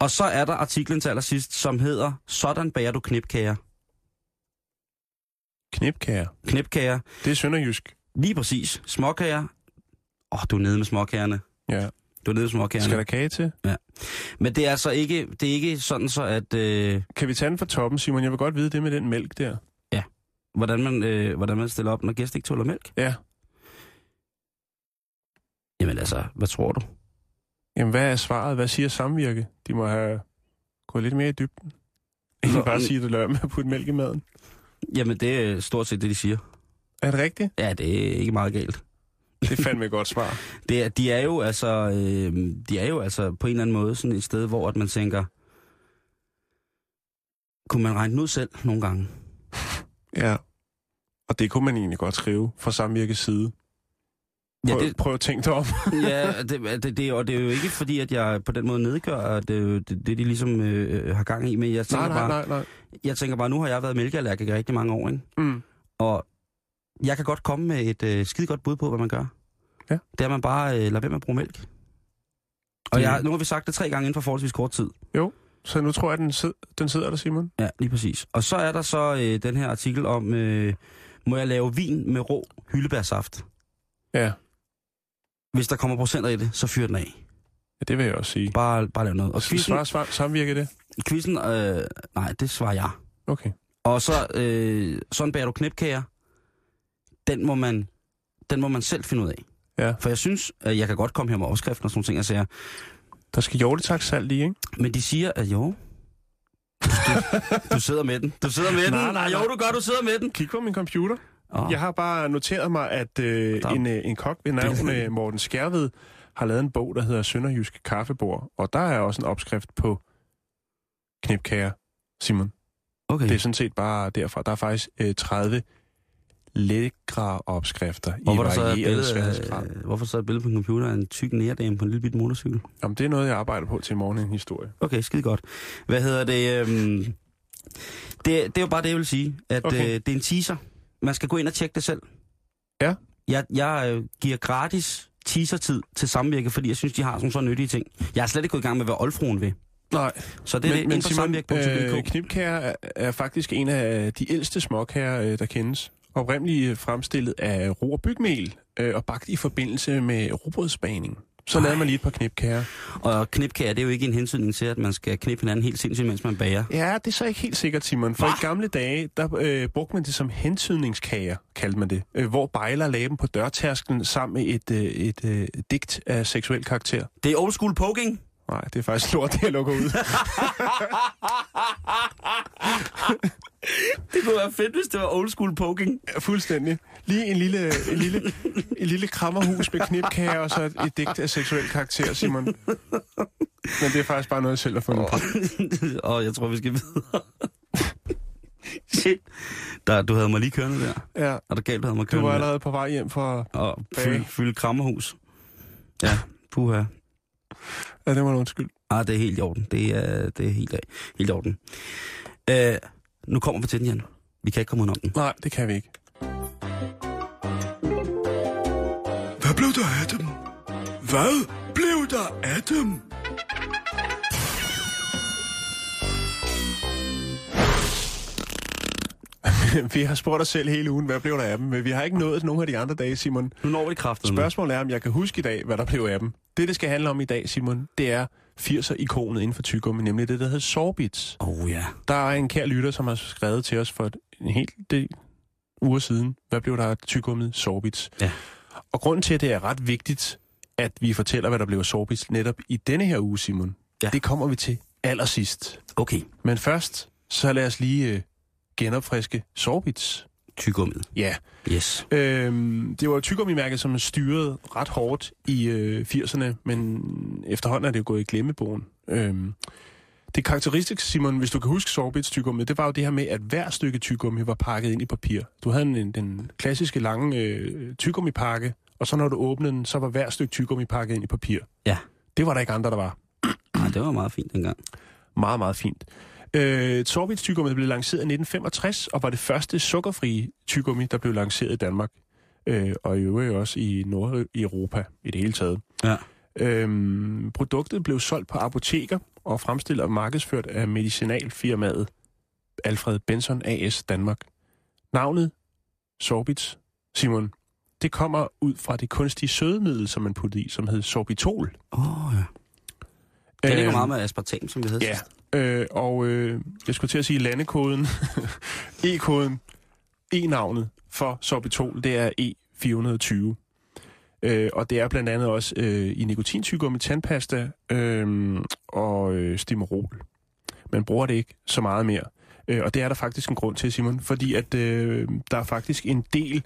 S4: Og så er der artiklen til allersidst, som hedder, Sådan bager du knipkager.
S5: Knipkager.
S4: Knipkager,
S5: Det er sønderjysk.
S4: lige præcis. Småkager. Åh, oh, du er nede med småkagerne.
S5: Ja.
S4: Du er nede med småkagerne.
S5: Skal der kage til?
S4: Men det er altså ikke, det er ikke sådan så, at øh,
S5: Kan vi tage den fra toppen, Simon? Jeg vil godt vide det med den mælk der.
S4: hvordan, man, øh, hvordan man stiller op, når gæst ikke tåler mælk.
S5: Ja.
S4: Jamen altså, hvad tror du?
S5: Jamen, hvad er svaret? Hvad siger samvirke? De må have gået lidt mere i dybden. Ikke
S4: Nå,
S5: bare
S4: mm.
S5: sige, at du lader med at (laughs) putte mælk i maden.
S4: Jamen, det er stort set det, de siger.
S5: Er det rigtigt?
S4: Ja, det er ikke meget galt.
S5: Det er fandme et godt svar.
S4: Det er, de er jo altså, øh, de er jo altså på en eller anden måde sådan et sted, hvor at man tænker, kunne man regne den ud selv nogle gange?
S5: (laughs) Ja. Og det kunne man egentlig godt skrive fra samvirkes side.
S4: Ja,
S5: Prøv, ja,
S4: det,
S5: det... prøv at tænke dig (laughs) om.
S4: ja det, det, det, og det er jo ikke fordi, at jeg på den måde nedgør at det, det, det de ligesom øh, har gang i, men jeg tænker,
S5: nej, nej,
S4: bare,
S5: nej, nej.
S4: jeg tænker bare, nu har jeg været mælkeallergiker i rigtig mange år, ikke?
S5: Mm.
S4: og jeg kan godt komme med et øh, skide godt bud på, hvad man gør.
S5: Ja.
S4: Det er, at man bare øh, lader være med at bruge mælk. Og
S5: Det-
S4: jeg, nu har vi sagt det tre gange inden for forholdsvis kort tid.
S5: Så nu tror jeg, den, sid den sidder der, Simon.
S4: Ja, lige præcis. Og så er der så øh, den her artikel om, øh, må jeg lave vin med rå hyldebærsaft?
S5: Ja.
S4: Hvis der kommer procenter i det, så fyr den af.
S5: ja det vil jeg også sige.
S4: Bare, bare lav noget. Og quizzen,
S5: Svar, svar, samvirke det?
S4: quizzen øh, nej, det svarer jeg.
S5: Okay.
S4: Og så, øh, sådan bærer du knipkager. Den må man, den må man selv finde ud af.
S5: Ja.
S4: For jeg synes, at jeg kan godt komme her med overskriften og sådan nogle ting, jeg siger.
S5: Der skal jordetaksalt i, ikke?
S4: Men de siger, at jo,
S5: (laughs)
S4: du, du sidder med den. Du sidder med
S5: Nej,
S4: den.
S5: nej,
S4: Jo,
S5: nej.
S4: du gør, du sidder med den.
S5: Kig på min computer.
S4: Oh.
S5: Jeg har bare noteret mig, at øh,
S4: Der-
S5: en, øh, en kok ved navn øh, Morten Skærved har lavet en bog, der hedder Sønderjysk Kaffebord. Og der er også en opskrift på knipkager, Simon.
S4: Okay.
S5: Det er sådan set bare derfra. Der er faktisk øh, 30 lækre opskrifter
S4: hvorfor,
S5: i
S4: der så er et
S5: varieret
S4: billede,
S5: sværhedsgrad.
S4: øh, hvorfor så er et billede på en computer af en tyk nærdame på en lille bit motorcykel?
S5: Jamen, det er noget, jeg arbejder på til morgen i en historie.
S4: Okay, skide godt. Hvad hedder det? Øhm, det, det er jo bare det, jeg vil sige. At okay.
S5: Okay.
S4: øh, det er en teaser. Man skal gå ind og tjekke det selv.
S5: Ja.
S4: Jeg, jeg øh, giver gratis teasertid til samvirke, fordi jeg synes, de har sådan nogle så nyttige ting. Jeg er slet ikke gået i gang med, hvad oldfruen vil.
S5: Nej,
S4: Så det er men, det, ind på samvirke.dk.
S5: øh, Knipkær er, er faktisk en af de ældste småkager, øh, der kendes. Oprindeligt øh, fremstillet af ro og bygmel øh, og bagt i forbindelse med robrødsbaning. Så lavede man lige et par knipkager.
S4: Og knipkager, det er jo ikke en hensynning til, at man skal knippe hinanden helt sindssygt, mens man bager.
S5: Ja, det er så ikke helt sikkert, Simon. For
S4: Hva?
S5: i gamle dage, der øh, brugte man det som hentydningskager, kaldte man det. Øh, hvor bejler lagde dem på dørtærsklen sammen med et, øh, et øh, digt af seksuel karakter.
S4: Det er old school poking.
S5: Nej, det er faktisk lort, det jeg lukker ud.
S4: Det kunne være fedt, hvis det var old school poking.
S5: Ja, Fuldstændig. Lige en lille, en lille, en lille krammerhus med knipkager og så et, et digt af seksuel karakter, Simon. Men det er faktisk bare noget, jeg selv har fundet på.
S4: (laughs) og jeg tror, vi skal videre. (laughs) Shit. Der, du havde mig lige kørende der.
S5: Ja,
S4: Er det galt, du havde mig
S5: du
S4: kørende
S5: var
S4: der?
S5: allerede på vej hjem fra...
S4: Og
S5: bag.
S4: fylde, fylde krammerhus. Ja, puha.
S5: Ja, det var en undskyld.
S4: Ah, det er helt i orden. Det er, det er helt, helt i orden. Øh, nu kommer vi til den, Jan. Vi kan ikke komme udenom den.
S5: Nej, det kan vi ikke.
S8: Hvad blev der af dem? Hvad blev der af dem?
S5: (laughs) vi har spurgt os selv hele ugen, hvad blev der af dem, men vi har ikke nået til nogen af de andre dage, Simon.
S4: Nu når vi det kraftigt.
S5: Spørgsmålet er, om jeg kan huske i dag, hvad der blev af dem. Det, det skal handle om i dag, Simon, det er 80'er-ikonet inden for tyggegummi, nemlig det, der hedder Sorbits.
S4: Oh ja.
S5: Der er en kær lytter, som har skrevet til os for et- en hel del uger siden. Hvad blev der af tyggegummet Sorbits?
S4: Ja.
S5: Og grunden til, at det er ret vigtigt, at vi fortæller, hvad der blev af Sorbits netop i denne her uge, Simon,
S4: Ja.
S5: det kommer vi til allersidst.
S4: Okay.
S5: Men først, så lad os lige øh, genopfriske Sorbits.
S4: Tygummet.
S5: Ja. Yeah.
S4: Yes.
S5: Øhm, det var jo tyggegummimærket, som styrede ret hårdt i øh, 80'erne, men efterhånden er det jo gået i glemmebogen. Øhm, det karakteristiske, Simon, hvis du kan huske sorbets tyggegummi, det var jo det her med, at hver stykke tyggegummi var pakket ind i papir. Du havde en, den klassiske lange øh, tyggegummipakke, og så når du åbnede den, så var hver stykke tyggegummi pakket ind i papir.
S4: Ja.
S5: Det var der ikke andre, der var.
S4: Ej, Ah, det var meget fint dengang.
S5: Meget, meget fint. Øh, Sorbits tyggegummi blev lanceret i 1965, og var det første sukkerfrie tyggegummi, der blev lanceret i Danmark. Øh, og i øvrigt også i Nordeuropa i det hele taget.
S4: Ja.
S5: Øhm, produktet blev solgt på apoteker og fremstillet og markedsført af medicinalfirmaet Alfred Benson AS Danmark. Navnet Sorbits, Simon, det kommer ud fra det kunstige sødemiddel, som man puttede i, som hed sorbitol.
S4: Åh, oh, ja. Det ligger
S5: Øhm,
S4: meget med aspartam, som vi havde
S5: Ja,
S4: sidst.
S5: øh, og øh, jeg skulle til at sige landekoden, (laughs) E-koden, E-navnet for sorbitol, det er E420. Øh, og det er blandt andet også øh, i nikotintyggegummi, tandpasta øh, og øh, stimerol. Man bruger det ikke så meget mere. Øh, og det er der faktisk en grund til, Simon, fordi at øh, der er faktisk en del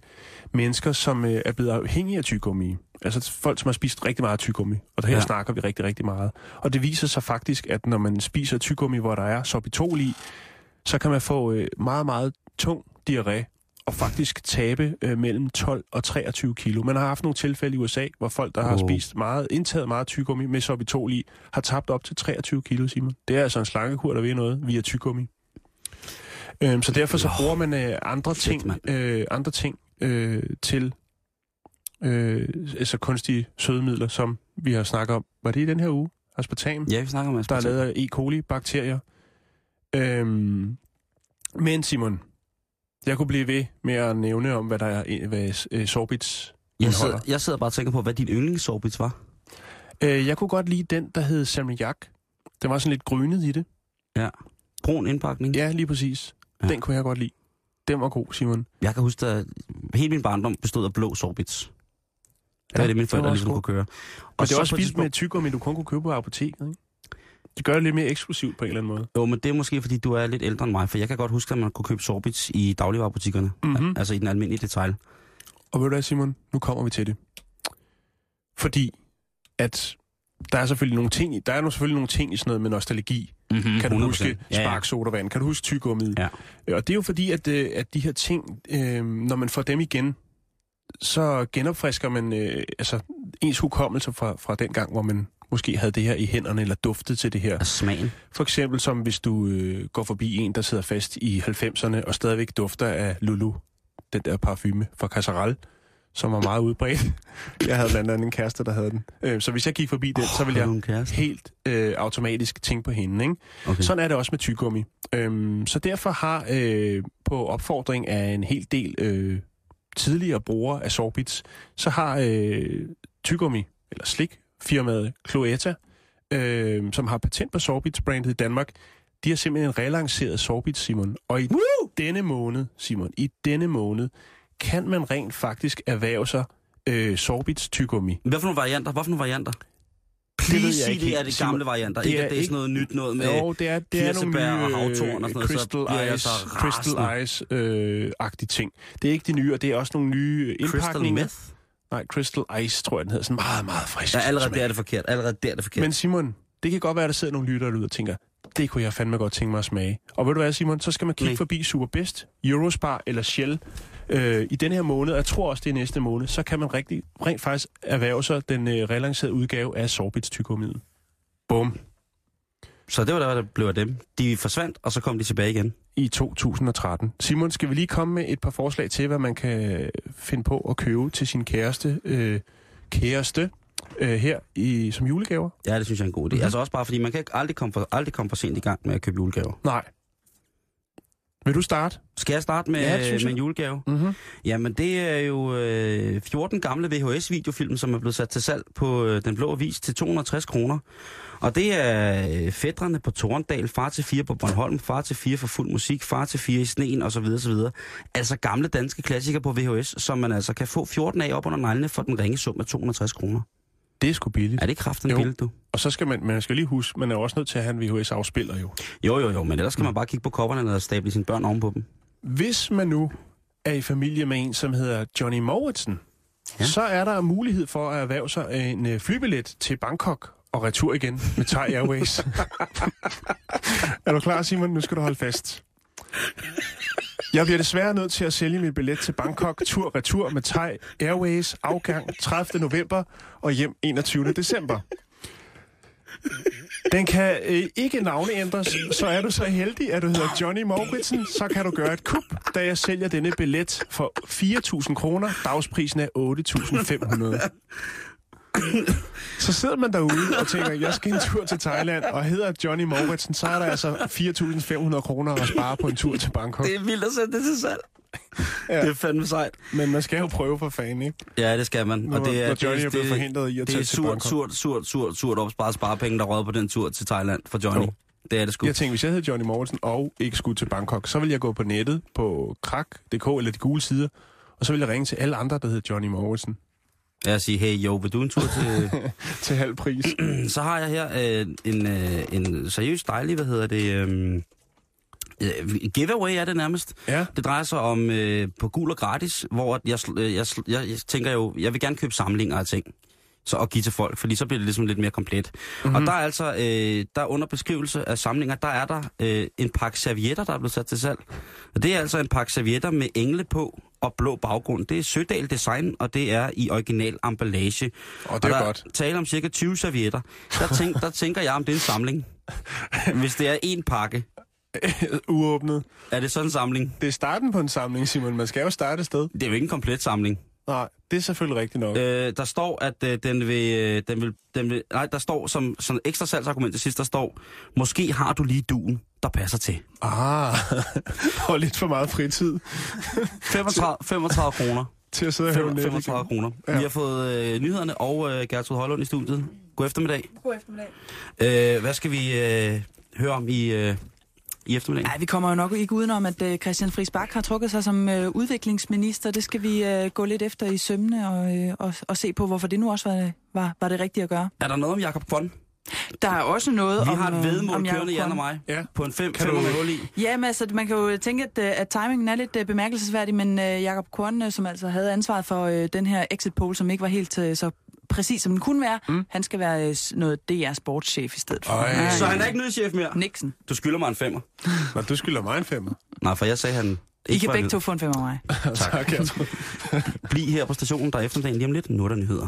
S5: mennesker, som øh, er blevet afhængige af tyggegummi. Altså folk, som har spist rigtig meget tyggegummi. Og der her
S4: Ja.
S5: ja. snakker vi rigtig, rigtig meget. Og det viser sig faktisk, at når man spiser tyggegummi, hvor der er sorbitol i, så kan man få øh, meget, meget tung diarré og faktisk tabe øh, mellem 12 og 23 kilo. Man har haft nogle tilfælde i USA, hvor folk, der har
S4: Wow.
S5: spist meget, indtaget meget tyggegummi med sorbitol i, har tabt op til 23 kilo, Simon. Det er altså en slankekur, der ved noget via tyggegummi. Øhm, så derfor så bruger man øh, andre
S4: Shit,
S5: ting,
S4: mand.
S5: øh, andre ting øh, til øh, altså kunstige sødemidler, som vi har snakket om. Var det i den her uge? Aspartam?
S4: Ja, vi snakker om
S5: der er
S4: aspartam.
S5: lavet af E. coli-bakterier. Øhm, men Simon, jeg kunne blive ved med at nævne om, hvad der er hvad, øh, sorbits
S4: jeg, sidder,
S5: indeholder.
S4: jeg sidder bare og tænker på, hvad din yndlingssorbits var.
S5: Øh, jeg kunne godt lide den, der hed salmiak. Den var sådan lidt grynet i det.
S4: Brun indpakning.
S5: Ja, lige præcis.
S4: Ja.
S5: Mm. Ja. Den kunne jeg godt lide. Den var god, Simon.
S4: Jeg kan huske, at hele min barndom bestod af blå sorbits. Det var det, mine
S5: den
S4: forældre
S5: også
S4: ligesom
S5: god.
S4: kunne køre. Og,
S5: Men det er også
S4: på et
S5: spist med
S4: tidspunkt-
S5: tyggegummi, du kun kunne købe på apoteket, ikke? Det gør det lidt mere eksklusivt på en eller anden måde.
S4: Jo, men det er måske, fordi du er lidt ældre end mig, for jeg kan godt huske, at man kunne købe sorbits i dagligvarerbutikkerne.
S5: Mhm.
S4: Altså i den almindelige detail.
S5: Og ved du hvad, Simon? Nu kommer vi til det. Fordi at der er selvfølgelig nogle ting, i- der er nu selvfølgelig nogle ting i sådan noget med nostalgi.
S4: Mm-hmm,
S5: Kan du huske
S4: Ja, ja.
S5: spark sodavand? Kan du huske tygummiet?
S4: Ja.
S5: Øh, Og det er jo fordi, at, øh, at de her ting, øh, når man får dem igen, så genopfrisker man øh, altså, ens hukommelse fra, fra den gang, hvor man måske havde det her i hænderne, eller duftede til det her.
S4: Og smagen.
S5: For eksempel som hvis du øh, går forbi en, der sidder fast i 90'erne, og stadigvæk dufter af Lulu, den der parfume fra Casserelle, som var meget udbredt. Jeg havde blandt andet en kæreste, der havde den. Øh, så hvis jeg gik forbi den, så ville
S4: Har du
S5: jeg
S4: en kæreste?
S5: helt øh, automatisk tænke på hende, ikke?
S4: Okay.
S5: Sådan er det også med tygummi. Øhm, så derfor har øh, på opfordring af en hel del øh, tidligere brugere af sorbits, så har øh, tygummi, eller slik, firmaet Cloetta, øh, som har patent på sorbits-brandet i Danmark, de har simpelthen relanceret sorbits, Simon. Og i Woo! denne måned, Simon, i denne måned, kan man rent faktisk erhverve sig øh, sorbits tygummi.
S4: Hvad for nogle varianter? Hvad for nogle varianter?
S5: ved
S4: Please
S5: jeg
S4: sig,
S5: ikke
S4: det
S5: helt,
S4: er det
S5: Simon.
S4: gamle varianter.
S5: Det
S4: Ikke,
S5: er
S4: at det er
S5: ikke-
S4: sådan noget nyt noget med...
S5: Jo, det er, det er nogle nye
S4: kirsebær og havtorn og sådan
S5: øh,
S4: noget, så
S5: crystal
S4: bliver jeg
S5: ice,
S4: så
S5: crystal
S4: rasende.
S5: ice-agtige øh, ting. Det er ikke de nye, og det er også nogle nye
S4: Crystal
S5: indpakninger.
S4: meth?
S5: Nej, crystal ice, tror jeg, den hedder. Sådan meget, meget frisk.
S4: Ja, allerede der
S5: smag.
S4: er det forkert. Allerede der er det forkert.
S5: Men Simon, det kan godt være, at der sidder nogle lyttere derude og tænker, det kunne jeg fandme godt tænke mig at smage. Og ved du hvad, Simon, så skal man kigge
S4: Nej.
S5: forbi Superbest, Eurospar eller Shell øh, i den her måned, og jeg tror også, det er næste måned, så kan man rigtig, rent faktisk erhverve sig den øh, relancerede udgave af Sorbits tykomiden. Bum.
S4: Så det var der, der blev af dem. De forsvandt, og så kom de tilbage igen.
S5: i 2013. Simon, skal vi lige komme med et par forslag til, hvad man kan finde på at købe til sin kæreste, øh, kæreste øh, her i, som julegaver?
S4: Ja, det synes jeg er en god idé.
S5: Mhm.
S4: Mm-hmm. Altså også bare, fordi man kan ikke aldrig komme, for, aldrig komme for sent i gang med at købe julegaver.
S5: Nej. Vil du starte?
S4: Skal jeg starte med,
S5: Ja,
S4: ja,
S5: det synes
S4: med en
S5: jeg.
S4: julegave?
S5: Mm-hmm.
S4: Jamen, det er jo øh, 14 gamle VHS-videofilm, som er blevet sat til salg på øh, Den Blå Avis til 260 kroner. Og det er øh, Fædrene på Torndal, Far til 4 på Bornholm, Far til 4 for fuld musik, Far til 4 i sneen osv. osv. Altså gamle danske klassikere på VHS, som man altså kan få 14 af op under neglene for den ringe sum af 260 kroner.
S5: Det er sgu billigt.
S4: Er det kraften
S5: Jo.
S4: billigt, du?
S5: Og så skal man, man skal lige huske, man er jo også nødt til at have en VHS-afspiller jo.
S4: Jo, jo, jo, men ellers kan man bare kigge på coverne og stable sine børn ovenpå dem.
S5: Hvis man nu er i familie med en, som hedder Johnny Mowatson, ja.
S4: Ja.
S5: så er der mulighed for at erhverve sig en øh, flybillet til Bangkok og retur igen med Thai Airways. er du klar, Simon? Nu skal du holde fast. Jeg bliver desværre nødt til at sælge min billet til Bangkok tur-retur med Thai Airways afgang 30. november og hjem 21. december. Den kan øh, ikke navneændres, så er du så heldig, at du hedder Johnny Moritsen, så kan du gøre et kup, da jeg sælger denne billet for 4.000 kroner. Dagsprisen er 8.500. Så sidder man derude og tænker, jeg skal en tur til Thailand, og hedder Johnny Moritsen, så er der altså 4.500 kroner at spare på en tur til Bangkok.
S4: Det er vildt at sætte (laughs) det til salg.
S5: Ja.
S4: Ja. Det er fandme sejt.
S5: Men man skal jo prøve for fanden, ikke?
S4: Ja, det skal man.
S5: Når- når Johnny
S4: det,
S5: er blevet forhindret i at
S4: det
S5: tage
S4: er
S5: til
S4: surt,
S5: Bangkok.
S4: surt, surt, surt, surt opsparet sparepenge, der rød på den tur til Thailand for Johnny.
S5: Jo.
S4: Det er det sgu.
S5: Jeg tænkte, hvis jeg hed Johnny Mortensen og ikke skulle til Bangkok, så ville jeg gå på nettet på krak.dk eller de gule sider, og så ville jeg ringe til alle andre, der hed Johnny Mortensen
S4: Jeg siger, hey, jo, vil du en tur
S5: (laughs)
S4: til...
S5: til halv pris.
S4: Så har jeg her øh, en, øh, en seriøs dejlig, hvad hedder det... Øh, øh, giveaway er det
S5: (clears throat)
S4: nærmest.
S5: Ja.
S4: Det drejer sig om øh, på gul og gratis, hvor at jeg, sl- øh, jeg, sl- jeg, jeg tænker jo, jeg vil gerne købe samlinger af ting så at give til folk, fordi så bliver det ligesom lidt mere komplet. Mm-hmm.
S5: Mhm.
S4: Og der er altså, øh, der under beskrivelse af samlinger, der er der øh, en pakke servietter, der er blevet sat til salg. Og det er altså en pakke servietter med engle på og blå baggrund. Det er Sødal Design, og det er i original emballage.
S5: Og det er
S4: der
S5: godt.
S4: tale om cirka 20 servietter. Der, tænk, der tænker jeg, om det er en
S5: (laughs)
S4: samling. Hvis det er en pakke,
S5: Uåbnet.
S4: er det sådan en samling?
S5: Det er starten på en samling, Simon. Man skal jo starte et sted.
S4: Det er jo ikke en komplet samling.
S5: Nej, det er selvfølgelig rigtigt nok.
S4: Øh, der står, at øh, den, vil, øh, den, vil, den vil... Nej, der står som, som ekstra salgsargument til sidst, der står, måske har du lige duen, der passer til.
S5: Ah, (laughs) og lidt for meget fritid
S4: 35,
S5: (laughs)
S4: 35 kroner.
S5: til at sidde og høre
S4: 35,
S5: net Øhm, igen.
S4: 35 kroner.
S5: Ja.
S4: Vi har fået øh, nyhederne og øh, Gertrud Højlund i studiet. God eftermiddag.
S9: God eftermiddag.
S4: Øh, hvad skal vi øh, høre om i, øh, i eftermiddag?
S3: Nej, vi kommer jo nok ikke udenom, at øh, Christian Friis Bak har trukket sig som øh, udviklingsminister. Det skal vi øh, gå lidt efter i sømne og, øh, og, og se på, hvorfor det nu også var, var, var det rigtige at gøre.
S4: Er der noget om Jakob Kvon? Vi
S3: Der er også noget om...
S4: har et
S3: øh, om
S4: vedmål
S3: Jacob
S4: kørende, Jan og
S3: Korn.
S4: mig,
S5: Ja.
S4: på en 5
S5: Kan du-
S4: hul i.
S3: Jamen altså, man kan jo tænke, at, øh, at timingen er lidt øh, bemærkelsesværdig, men øh, Jakob Korn, øh, som altså havde ansvaret for øh, den her exit poll, som ikke var helt øh, så præcis som den kunne være. Mm. Han skal være øh, s- noget DR sportschef i stedet for.
S5: Ej.
S4: Så han er ikke nyhedschef mere?
S3: Nixon.
S4: Du skylder mig en femmer.
S5: Nå, du skylder mig en femmer.
S4: Nej, for jeg sagde han...
S3: I kan
S4: var
S3: begge
S4: nyd.
S3: to få en femmer af mig.
S5: tak. tak jeg tror.
S4: Bliv her på stationen, der er eftermiddagen lige om lidt. Nu er der nyheder.